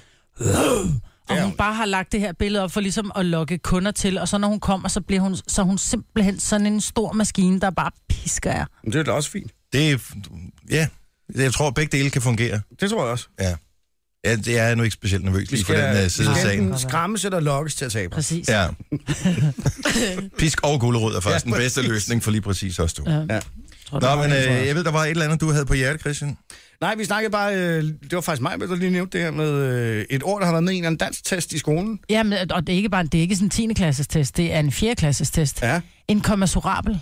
S4: og hun bare har lagt det her billede op for ligesom at lokke kunder til, og så når hun kommer, så bliver hun, så er hun simpelthen sådan en stor maskine, der bare pisker jer.
S2: Men det er da også fint.
S1: Det er, ja, jeg tror, at begge dele kan fungere.
S2: Det tror jeg også.
S1: Ja. Jeg, jeg er nu ikke specielt nervøs lige for den øh, side af sagen.
S2: enten skræmmes eller lokkes til at tabe.
S4: Præcis. Ja.
S1: Ja. Pisk og gulerod er faktisk den bedste løsning for lige præcis os to. Ja.
S4: Tror,
S1: Nå,
S4: det var
S1: men
S4: det, tror
S1: øh,
S4: jeg.
S1: jeg ved, der var et eller andet, du havde på hjertet, Christian.
S2: Nej, vi snakkede bare, øh, det var faktisk mig, der lige nævnte det her med øh, et år, der har været med i en eller anden danstest i skolen.
S4: Jamen, og det er ikke bare det er ikke sådan en 10. klasses test, det er en 4. klasses test.
S2: Ja.
S4: En kommensurabel,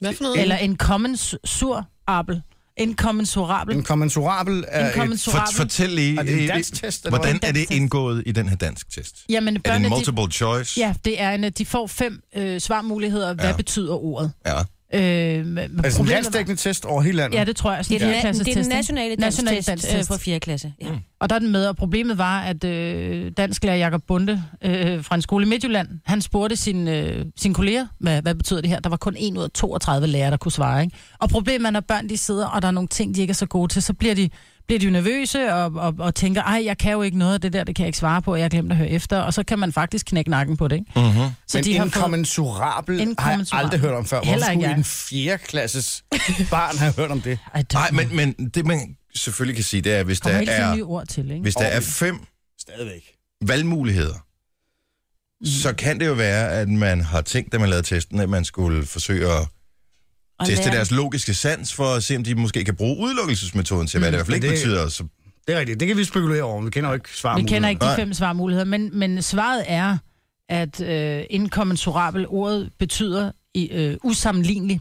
S6: Hvad for noget?
S4: eller en kommensurabel. En kommensurabel.
S2: En kommensurabel er et...
S4: En
S2: altså
S1: For,
S4: kommensurabel.
S1: fortæl lige,
S2: Er det en
S1: øh,
S2: dansk test, eller
S1: hvordan
S4: hvad?
S1: er det
S4: Dansk test.
S1: indgået i den her dansk test?
S4: Jamen,
S1: Er det
S4: børnene,
S1: en
S4: de,
S1: multiple choice?
S4: ja, det er en, de får fem øh, svarmuligheder. Hvad
S1: Ja.
S4: ja. betyder ordet?
S1: ja.
S4: Øh, men
S2: Altså en
S4: problemet
S2: landsdækkende test over hele landet.
S4: var- Ja, det tror jeg. Sådan
S3: Det er,
S4: en
S3: den, na-
S4: klasses
S3: det er den
S4: test, ikke?
S3: nationale
S4: National
S3: dansk test, øh,
S4: danstest.
S3: fra 4. klasse. Ja.
S4: Og der er den med, og problemet var, at øh, dansklærer Jakob Bunde øh, fra en skole i Midtjylland, han spurgte sin, øh, sine kolleger, hvad, hvad betyder det her? Der var kun 1 ud af 32 lærere, der kunne svare. Ikke? Og problemet er, når børn de sidder, og der er nogle ting, de ikke er så gode til, så bliver de, bliver de jo nervøse og, og, og tænker, ej, jeg kan jo ikke noget af det der, det kan jeg ikke svare på, og jeg har glemt at høre efter. Og så kan man faktisk knække nakken på det. Ikke?
S1: Mhm.
S4: Mm-hmm. Så
S2: Men de en
S4: fået-
S2: kommensurabel
S4: En
S2: har jeg
S4: kommensurabel.
S2: aldrig hørt om før. Hvorfor
S4: Heller ikke
S2: skulle
S4: jeg.
S2: en fjerdeklasses barn have hørt om det?
S4: Ej, det
S1: Nej, men, men det man selvfølgelig kan sige, det er, hvis der
S4: kommer hele tiden nye
S1: er,
S4: ord til, ikke?
S1: hvis der er fem
S2: Stadigvæk.
S1: valgmuligheder,
S4: Mm.
S1: så kan det jo være, at man har tænkt, da man lavede testen, at man skulle forsøge at
S4: Og
S1: teste
S4: læreren-
S1: deres logiske sans, for at se, om de måske kan bruge udelukkelsesmetoden til, hvad det i hvert fald ikke
S2: Mm, det-
S1: betyder. Så
S2: Det er rigtigt. Det kan vi spekulere over. Vi kender jo ikke
S4: Vi
S2: svaret.
S4: kender ikke de
S1: Nej.
S4: fem svarmuligheder, men, men svaret er, at øh, inkommensurabel ordet betyder i, øh, usammenlignelig.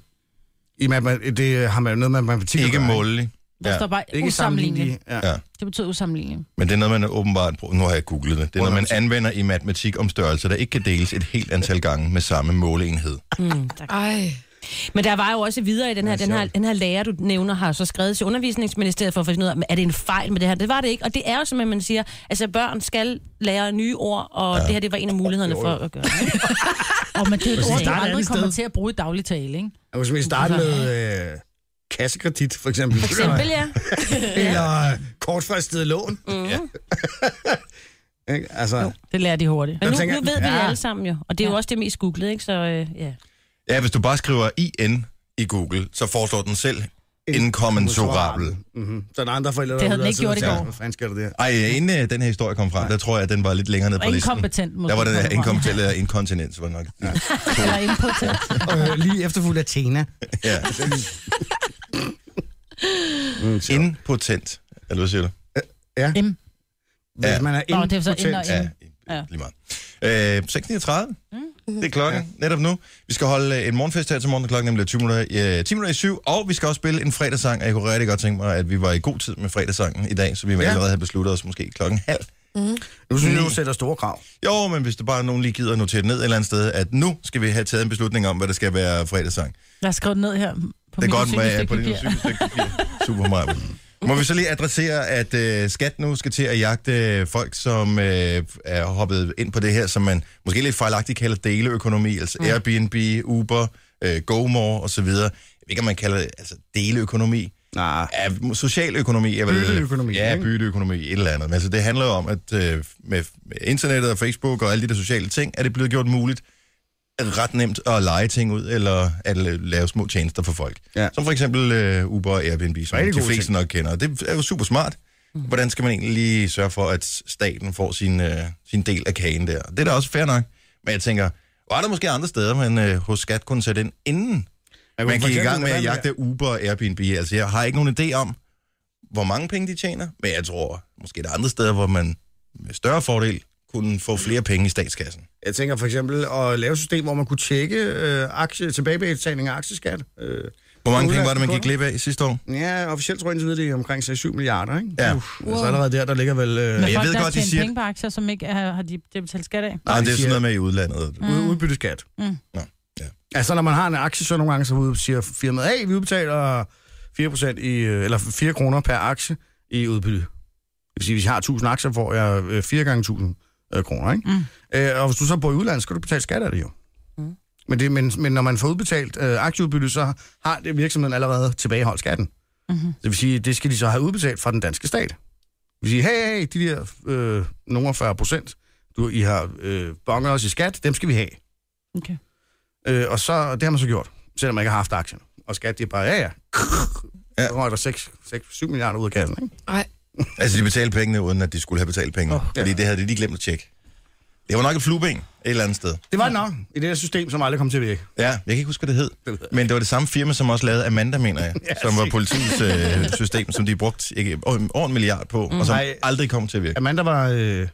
S2: I matema- det har man jo noget med matematik. at
S1: ikke
S2: gøre,
S1: målelig.
S4: Der ja. står bare
S2: Ikke
S4: usammenlignelig.
S2: sammenlignelig. Ja.
S1: Ja.
S4: Det betyder usammenlignelig.
S1: Men det er noget, man åbenbart bruger. Nu har jeg googlet det. Det er noget, man
S2: Undervist.
S1: anvender i matematik om størrelser, der ikke kan deles et helt antal gange med samme måleenhed.
S6: Ej,
S3: Men der var jo også videre i den her, den her, den her lærer, du nævner, har så skrevet til undervisningsministeriet for at finde ud af, er det en fejl med det her? Det var det ikke, og det er jo som at man siger, altså børn skal lære nye ord, og ja. det her, det var en af mulighederne for at gøre det.
S4: Og men det er et
S2: Præcis.
S4: ord,
S2: Der er
S4: du
S2: et
S4: aldrig
S2: andet
S4: kommer
S2: sted.
S4: til at bruge i daglig tale, ikke?
S2: Og hvis vi starter med øh, kassekredit, for eksempel. For
S3: Eksempel, ja.
S2: Eller øh, kortfristet lån. Mm.
S4: Mhm.
S2: Ja. Ikke? altså,
S4: Det lærer de hurtigt.
S3: Men nu,
S2: tænker
S3: nu
S2: jeg,
S3: ved vi det
S2: ja.
S3: alle sammen jo, og det er jo også det mest googlede, ikke? Så øh, ja.
S1: Ja, hvis du bare skriver IN i Google, så foreslår den selv inkommensurabel.
S2: Mm-hmm. Så der er andre forældre,
S4: Det havde den ikke gjort i går.
S2: Hvad fanden sker der der?
S1: Ej, inden øh, den her historie kom frem, der tror jeg, at den var lidt længere ned på
S4: Og
S1: listen.
S4: inkompetent måske.
S1: Der var den her
S4: kommer fra.
S1: inkompetent eller inkontinent, var det nok. Ja.
S4: Eller impotent.
S2: Og øh, lige efterfulgt af Tina. Altså,
S1: ja. Impotent. Eller hvad siger du?
S4: Im.
S2: Hvis
S1: Ja.
S2: man er
S4: Nå, det er så ind og
S2: impotent.
S4: ind.
S1: Ja, ja.
S4: Ja.
S1: lige meget. Øh, 6.39, mm. det er klokken ja. netop nu. Vi skal holde øh, en morgenfest her til morgen, klokken nemlig er 20 minutter, øh, 10 minutter i syv, og vi skal også spille en fredagssang, og jeg kunne rigtig godt tænke mig, at vi var i god tid med fredagssangen i dag, så vi ja.
S2: Ja.
S1: allerede havde besluttet os måske klokken halv.
S2: Nu synes jeg, du sætter store krav.
S1: Jo, men hvis der bare er nogen lige gider at notere det ned et eller andet sted, at nu skal vi have taget en beslutning om, hvad der skal være fredagssang.
S4: Lad os skrive det ned her. På
S1: Det er
S4: mit
S1: godt, hvad jeg er på din
S4: synsdygtige papir.
S1: cykelstykke. Super meget. Må vi så lige adressere, at øh, skat nu skal til at jagte øh, folk, som øh, er hoppet ind på det her, som man måske lidt fejlagtigt kalder deleøkonomi, altså mm. Airbnb, Uber, øh, GoMore osv. Jeg ved ikke, om man kalder det altså, deleøkonomi.
S2: Nej.
S1: Ja, social økonomi. Jeg ved,
S2: Bytteøkonomi,
S1: Ja,
S2: ikke?
S1: bytteøkonomi, et eller andet. Men altså, det handler jo om, at øh, med, med internettet og Facebook og alle de der sociale ting, er det blevet gjort muligt ret nemt at lege ting ud, eller at la- lave små tjenester for folk.
S2: Ja.
S1: Som for eksempel øh, Uber og Airbnb, som
S2: Rigtig
S1: de
S2: gode
S1: fleste
S2: ting. Mm.
S1: nok kender. Det er jo super smart. Hvordan skal man egentlig lige sørge for, at staten får sin, øh, sin del af kagen der? Det er da også fair nok. Men jeg tænker, var der måske andre steder, man øh, hos skat kunne sætte ind inden man gik i gang med at jagte Uber og Airbnb. Altså, jeg har ikke nogen idé om, hvor mange penge de tjener, men jeg tror, måske der er andre steder, hvor man med større fordel kunne få flere penge i statskassen.
S2: Jeg tænker for eksempel at lave et system, hvor man kunne tjekke øh, aktie, tilbagebetaling af aktieskat. Øh,
S1: Hvor mange penge var det, man gik glip af sidste år?
S2: Ja, officielt tror jeg, indtil videre, det er omkring 6-7 milliarder, ikke?
S1: Ja.
S2: Uff, altså allerede der, der ligger vel... Øh,
S4: Men
S1: jeg
S4: folk,
S1: ved godt, de
S4: der har tjent
S1: siger-
S4: penge på aktier, som ikke har, har de, de har betalt skat af.
S1: Nej, det er
S2: siger-
S1: sådan noget med i udlandet.
S2: mm. udbytteskat. Mm.
S1: Nå, ja.
S2: Altså, når man har en aktie, så nogle gange så ud- siger firmaet, hey, vi udbetaler 4%, i, øh, eller 4 kroner per aktie i udbytte. Det vil sige, hvis jeg har 1000 aktier, får jeg øh, 4 gange 1000 øh, kroner, ikke? Mm. Øh, og hvis du så bor i udlandet, så skal du betale skat af det jo. Men, det, men, men når man får udbetalt øh, aktieudbytte, så har det virksomheden allerede tilbageholdt skatten. Mm-hmm. Det vil sige, det skal de så have udbetalt fra den danske stat. Det vil sige, hey, hey, de der øh, nogle 40 procent, du, I har øh, bonget os i skat, dem skal vi have.
S4: Okay.
S2: Øh, og så, det har man så gjort, selvom man ikke har haft aktien. Og skat, det er bare, ja, ja. Ja. Så røg der 6-7 milliarder ud af kassen, ikke?
S6: Nej,
S1: Altså, de betalte pengene, uden at de skulle have betalt penge. Oh, fordi det havde de lige glemt at tjekke. Det var nok et flueben et eller andet sted.
S2: Det var det nok i det her system, som aldrig kom til at virke.
S1: Ja, jeg kan ikke huske, hvad det hed. Men det var det samme firma, som også lavede Amanda, mener jeg.
S2: Ja,
S1: som var
S2: sikkert.
S1: politiets øh, system, som de brugte ikke, over over en milliard på, og som
S2: Mm. Nej.
S1: aldrig kom til at virke.
S2: Amanda var... Øh,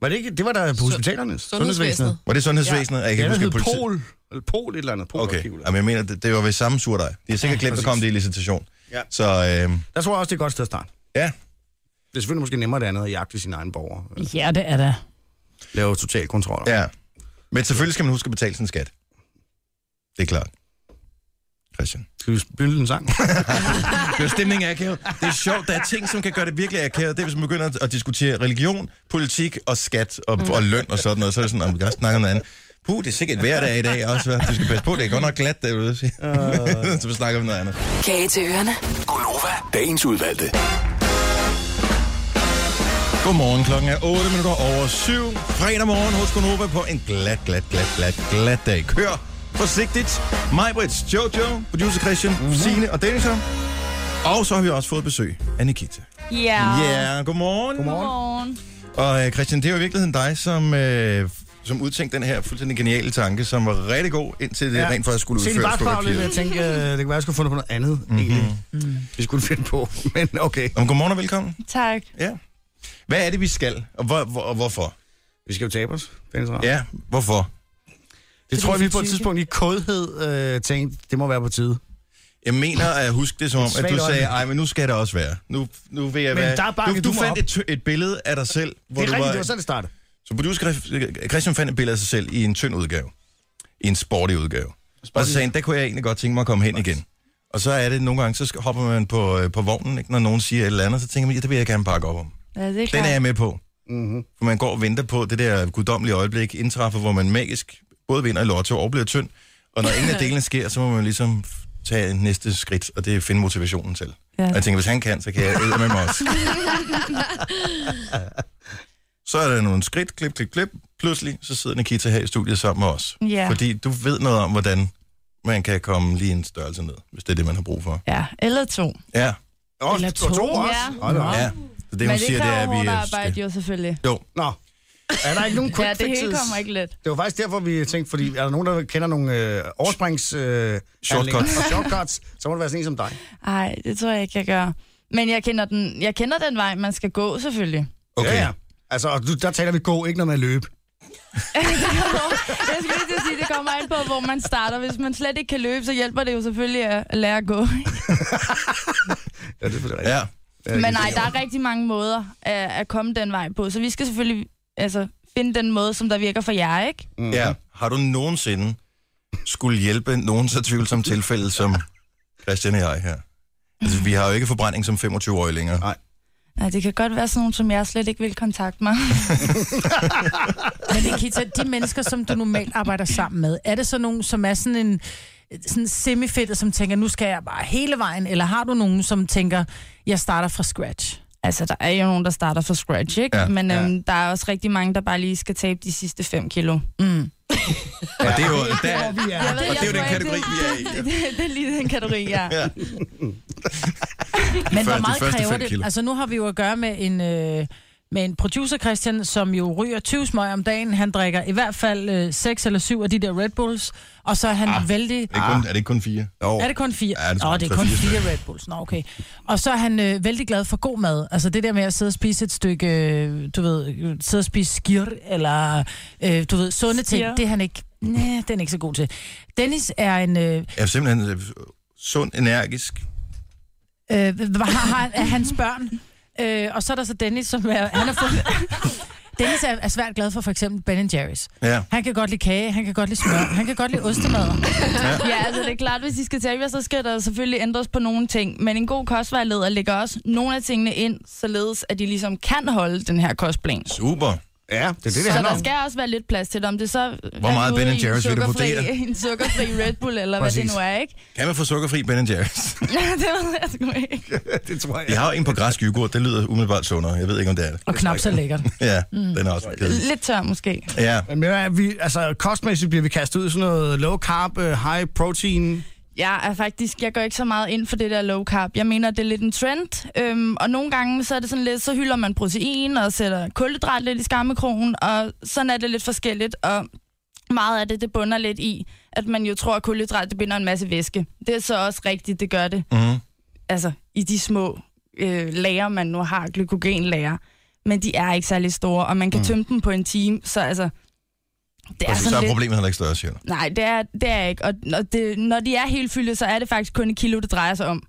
S2: var det ikke... Det var der på hospitalerne.
S6: sundhedsvæsenet.
S1: Var det sundhedsvæsenet? Ja. Jeg kan
S2: Ja,
S1: ikke
S2: den
S1: huske,
S2: hed
S1: at politi-
S2: Pol. Eller Pol et eller andet. Pol
S1: Okay, Jamen, jeg mener, det, det var ved samme surdej. De har sikkert glemt at komme det i licitation.
S2: Ja.
S1: Så øh,
S2: Der tror jeg også, det er et godt sted at starte.
S1: ja,
S2: Det er selvfølgelig måske nemmere det andet at jagte sine egne borgere. Eller
S4: Ja, det er det.
S2: Lave total kontrol. Ja.
S1: ja. Men selvfølgelig skal man huske at betale sin skat. Det er klart. Christian.
S2: Skal vi spille en sang?
S1: Det er stemningen er akavet. Det er sjovt, der er ting, som kan gøre det virkelig akavet. Det er, hvis man begynder at diskutere religion, politik og skat og, og løn og sådan noget. Så er det sådan, at vi kan også snakke om noget andet. Puh, det er sikkert hver dag i dag også. hva'? Du skal passe på, det er godt nok glat derude.
S2: Øh.
S1: Uh. så vi snakker om noget andet.
S7: Kage til ørerne.
S9: Gonova, dagens udvalgte.
S1: Godmorgen, klokken er 8 minutter over 7. Fredag morgen hos Konoba på en glat, glat, glat, glat, glat dag. Kør forsigtigt. Mig, Brits, Jojo, producer Christian,
S2: Mhm.
S1: mm-hmm. Signe og Dennis her. Og så har vi også fået besøg af Nikita.
S4: Ja.
S1: Ja, yeah, godmorgen.
S4: Godmorgen.
S1: Og øh, Christian, det var i virkeligheden dig, som, øh, som udtænkte den her fuldstændig geniale tanke, som var rigtig god, indtil det ja. rent faktisk skulle Mhm.
S2: Se, det
S1: udføres
S2: bare
S1: på
S2: kravle lidt, jeg
S1: papiret.
S2: tænkte, øh, det kan være, jeg skulle finde på noget andet, mm-hmm. egentlig.
S1: Mm.
S2: Vi skulle finde på, men okay.
S1: Om, godmorgen og velkommen.
S4: Tak.
S1: Ja. Hvad er det, vi skal, og, hvor, hvor, og hvorfor?
S2: Vi skal jo tabe os, Dennis Ravn.
S1: Ja, hvorfor?
S2: Det tror jeg, vi på et tidspunkt i kodhed øh, tænkte, det må være på tide.
S1: Jeg mener at huske det som om, at
S2: svagt
S1: du sagde,
S2: øjeblik.
S1: ej, men nu skal det også være. Nu, nu vil jeg
S2: Men
S1: være...
S2: der bakkede
S1: du,
S2: du
S1: du
S2: mig
S1: fandt
S2: op.
S1: et, tø- et billede af dig selv, hvor
S2: Det er
S1: du
S2: rigtigt,
S1: var...
S2: det var sådan, det startede.
S1: Så producer Christ- Christian fandt et billede af sig selv i en tynd udgave. I en sporty udgave. Og så sagde han, der kunne jeg egentlig godt tænke mig at komme hen igen. Og så er det nogle gange, så skal- hopper man på, øh, på vognen, ikke? når nogen siger et eller andet, så tænker man, ja, det vil jeg gerne pakke op om.
S4: Ja, det er
S1: Den er jeg med på. Mm-hmm. For man går og venter på det der guddommelige øjeblik, indtræffer, hvor man magisk både vinder i lotto og bliver tynd. Og når ingen af delene sker, så må man ligesom f- tage næste skridt, og det er finde motivationen til. Ja.
S4: Ja.
S1: Og jeg tænker, hvis han kan, så kan jeg æde med mig også. så er der nogle skridt, klip, klip, klip. Pludselig, så sidder Nikita her i studiet sammen med os.
S4: Ja.
S1: Fordi du ved noget om, hvordan man kan komme lige en størrelse ned, hvis det er det, man har brug for.
S10: Ja, eller to.
S1: Ja,
S2: Åh,
S4: Eller
S2: to, to
S4: to.
S2: også?
S10: Ja.
S2: Hold da op.
S1: ja. Så det, hun
S10: Men det er
S1: siger, det
S10: klar
S1: er, at
S10: over
S1: vi...
S10: hårdt
S1: øh,
S10: arbejde,
S1: skal-
S10: jo selvfølgelig.
S1: Jo,
S2: Nå, er der ikke nogen quick
S10: Ja, det hele
S2: fixes?
S10: kommer ikke let.
S2: Det var faktisk derfor, vi tænkte, fordi er der nogen, der kender nogle øh, oversprings... Øh, handlinger
S1: Shortcuts.
S2: og shortcuts, så må det være sådan en som dig.
S10: Ej, det tror jeg ikke, jeg gør. Men jeg kender den, jeg kender den vej, man skal gå, selvfølgelig.
S1: okay.
S2: Ja, ja. Altså, og du, der taler vi gå, ikke noget med at løbe.
S10: jeg skal lige til at sige, det kommer an på, hvor man starter. Hvis man slet ikke kan løbe, så hjælper det jo selvfølgelig at at lære at gå.
S2: Ja, det er det
S1: ja.
S10: Men nej, der er rigtig mange måder at, at komme den vej på, så vi skal selvfølgelig altså, finde den måde, som der virker for jer, ikke?
S1: Ja. Har du nogensinde skulle hjælpe nogen så tvivlsom tilfælde som Christian og jeg her? Altså, vi har jo ikke forbrænding som 25-årige længere.
S2: Nej.
S10: Nej, det kan godt være sådan nogle, som jeg slet ikke vil kontakte mig.
S4: Men Nikita, de mennesker, som du normalt arbejder sammen med, er det så nogen, som er sådan en sådan semifedtet, som tænker, nu skal jeg bare hele vejen, eller har du nogen, som tænker, jeg starter fra scratch?
S10: Altså, der er jo nogen, der starter fra scratch, ikke?
S1: Ja,
S10: Ja, Men øhm, der er også rigtig mange, der bare lige skal tabe de sidste 5 kilo.
S1: Og det er jo, der,
S2: vi er.
S10: ved,
S1: og det er jo
S10: jeg
S1: den
S10: tror ikke,
S1: kategori, vi er i.
S10: det, det er lige den kategori, ja.
S1: Ja.
S4: Men
S1: Før-
S4: hvor
S1: de
S4: meget
S1: første
S4: kræver
S1: fem
S4: det?
S1: kilo.
S4: Altså, nu har vi jo at gøre med en... Øh, Men producer Christian, som jo ryger 20 smøg om dagen, han drikker i hvert fald øh, 6 eller 7 af de der Red Bulls, og så er han ah, vældig...
S1: Er det, kun, er det ikke kun fire?
S4: Oh. Er det kun fire?
S1: Ja, det tror
S4: Åh,
S1: jeg,
S4: det
S1: tre,
S4: er kun
S1: fire stykker.
S4: fire Red Bulls. Nå, okay. Og så er han øh, vældig glad for god mad. Altså det der med at sidde og spise et stykke, øh, du ved, øh, sidde og spise skir, eller øh, du ved, sunde
S10: Skir.
S4: ting, det er han ikke, næh, det er han ikke så god til. Dennis er en, øh,
S1: Er simpelthen øh, sund, energisk.
S4: øh, hvad har, har, er hans børn, øh, og så er der så Dennis, som er, han har fundet... Dennis er, er svært glad for for eksempel Ben Jerry's.
S1: Ja.
S4: Han kan godt lide kage, han kan godt lide smør, han kan godt lide ostemader.
S10: Ja, altså det er klart, hvis I skal tage, så skal der selvfølgelig ændres på nogle ting. Men en god kostvejleder lægger også nogle af tingene ind, således at de ligesom kan holde den her kostplan.
S1: Super.
S2: Ja, det er det, det
S10: Så
S2: handler
S10: der
S2: om.
S10: skal også være lidt plads til det, om det så
S1: Hvor meget Ben Jerry's vil du vurdere?
S10: En sukkerfri Red Bull, eller hvad det
S2: Præcis.
S10: nu er, ikke?
S1: Kan man få sukkerfri Ben Jerry's?
S10: det ved jeg sgu ikke.
S2: Det tror jeg.
S1: Jeg har jo en på græsk yoghurt, det lyder umiddelbart sundere. Jeg ved ikke, om det er det.
S4: Og knap så lækkert.
S1: Ja,
S10: Mm.
S1: den er også kedelig.
S10: Lidt tør måske.
S1: Ja,
S2: Men ved du hvad, vi, altså, kostmæssigt bliver vi kastet ud i sådan noget low carb, øh, high protein.
S10: Jeg er faktisk, jeg går ikke så meget ind for det der low carb. Jeg mener, det er lidt en trend, øhm, og nogle gange så er det sådan lidt, så hylder man protein og sætter kulhydrat lidt i skammekrogen, og sådan er det lidt forskelligt, og meget af det, det bunder lidt i, at man jo tror, at kulhydrat, det binder en masse væske. Det er så også rigtigt, det gør det.
S1: Mhm.
S10: Altså, i de små øh, lager, man nu har, glykogenlager. Men de er ikke særlig store, og man kan mm. tømme dem på en time, så altså... Det er
S1: præcis. Så
S10: sådan
S1: er
S10: lidt...
S1: problemet heller ikke større, siger du.
S10: Nej, det er, det er ikke. Og når, det, når de er helt fyldte, så er det faktisk kun et kilo, det drejer sig om.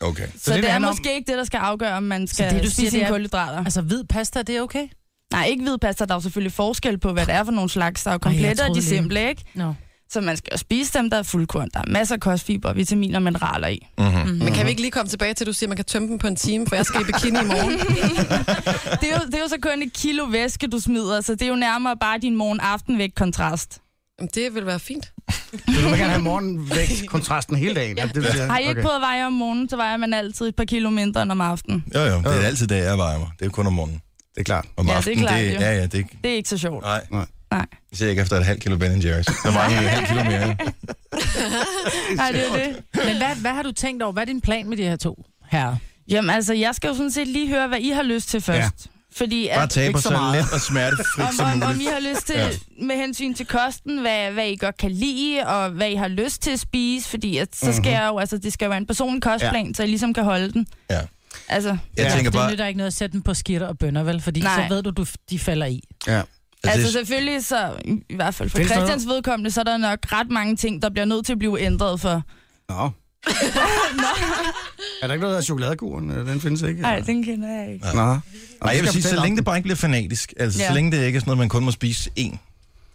S1: Okay.
S10: Så, så det,
S2: det
S10: det er
S2: handler om-
S10: måske om... ikke det, der skal afgøre, om man skal
S4: det,
S10: det,
S4: du
S10: du
S4: siger,
S10: spise sine
S4: det er-
S10: kulhydrater.
S4: Altså hvid pasta, det er okay?
S10: Nej, ikke hvid pasta. Der er jo selvfølgelig forskel på, hvad det er for nogle slags. Der er jo kompletter og
S4: troede
S10: de
S4: lige.
S10: simple, ikke?
S4: Nå. No.
S10: Så man skal jo spise dem, der er fuldkorn. Der er masser af kostfiber, vitaminer og mineraler i.
S1: Mm-hmm.
S6: Men kan vi ikke lige komme tilbage til, at du siger, at man kan tømme dem på en time, for jeg skal i bikini i morgen?
S10: Det er, jo, det er jo så kun et kilo væske, du smider, så det er jo nærmere bare din morgen-aften-vægt-kontrast.
S6: Jamen, det vil være fint.
S2: Så du vil gerne have morgenvægt kontrasten hele dagen. Ja. Det, vil jeg-
S10: Har I ikke
S2: okay.
S10: prøvet at veje om morgenen, så vejer man altid et par kilo mindre end om aftenen.
S1: Jo, jo, det er altid, da jeg vejer mig. Det er kun om morgenen.
S2: Det er klart.
S1: Om
S10: Ja, det er
S1: aftenen,
S10: klart,
S1: det,
S10: jo.
S1: ja, ja, det er ikke...
S10: Det er ikke så sjovt.
S1: Nej,
S10: Nej,
S1: især ikke efter et halvt kilo Ben Jerry's. Der var en halv kilo mere.
S10: Nej det er det.
S4: Men hvad, hvad har du tænkt over? Hvad er din plan med de her to herrer?
S10: Jamen altså, jeg skal jo sådan set lige høre, hvad I har lyst til først. Ja. Fordi
S1: Bare
S10: at,
S1: taber
S2: ikke så
S1: så,
S2: meget.
S1: let og smertefrit som
S10: om, om, om I
S1: muligt.
S10: har lyst til,
S1: Ja.
S10: ja. med hensyn til kosten, hvad, hvad I godt kan lide, og hvad I har lyst til at spise, fordi at, så skal jeg jo, altså, det skal jo være en personlig kostplan, ja. så I ligesom kan holde den.
S1: Ja.
S10: Altså,
S1: Jeg
S2: Ja,
S1: tænker
S4: Det
S1: bare...
S4: nytter ikke noget at sætte dem på skitter og bønner, vel? Fordi Nej.
S10: Nej.
S4: så ved du, du de falder i.
S2: Ja.
S10: altså
S1: det-
S10: selvfølgelig så, i i hvert fald for
S2: Findes der
S10: Christians vedkommende, så er der nok ret mange ting, der bliver nødt til at blive ændret for.
S2: Nå. er der ikke noget af chokoladekuren? Øh, Den findes ikke?
S10: Nej,
S2: eller?
S10: den kender jeg ikke.
S2: Nå.
S1: Nej, jeg vil sige, så længe det bare ikke bliver fanatisk, altså ja.
S10: Ja.
S1: så længe det ikke er sådan noget, man kun må spise én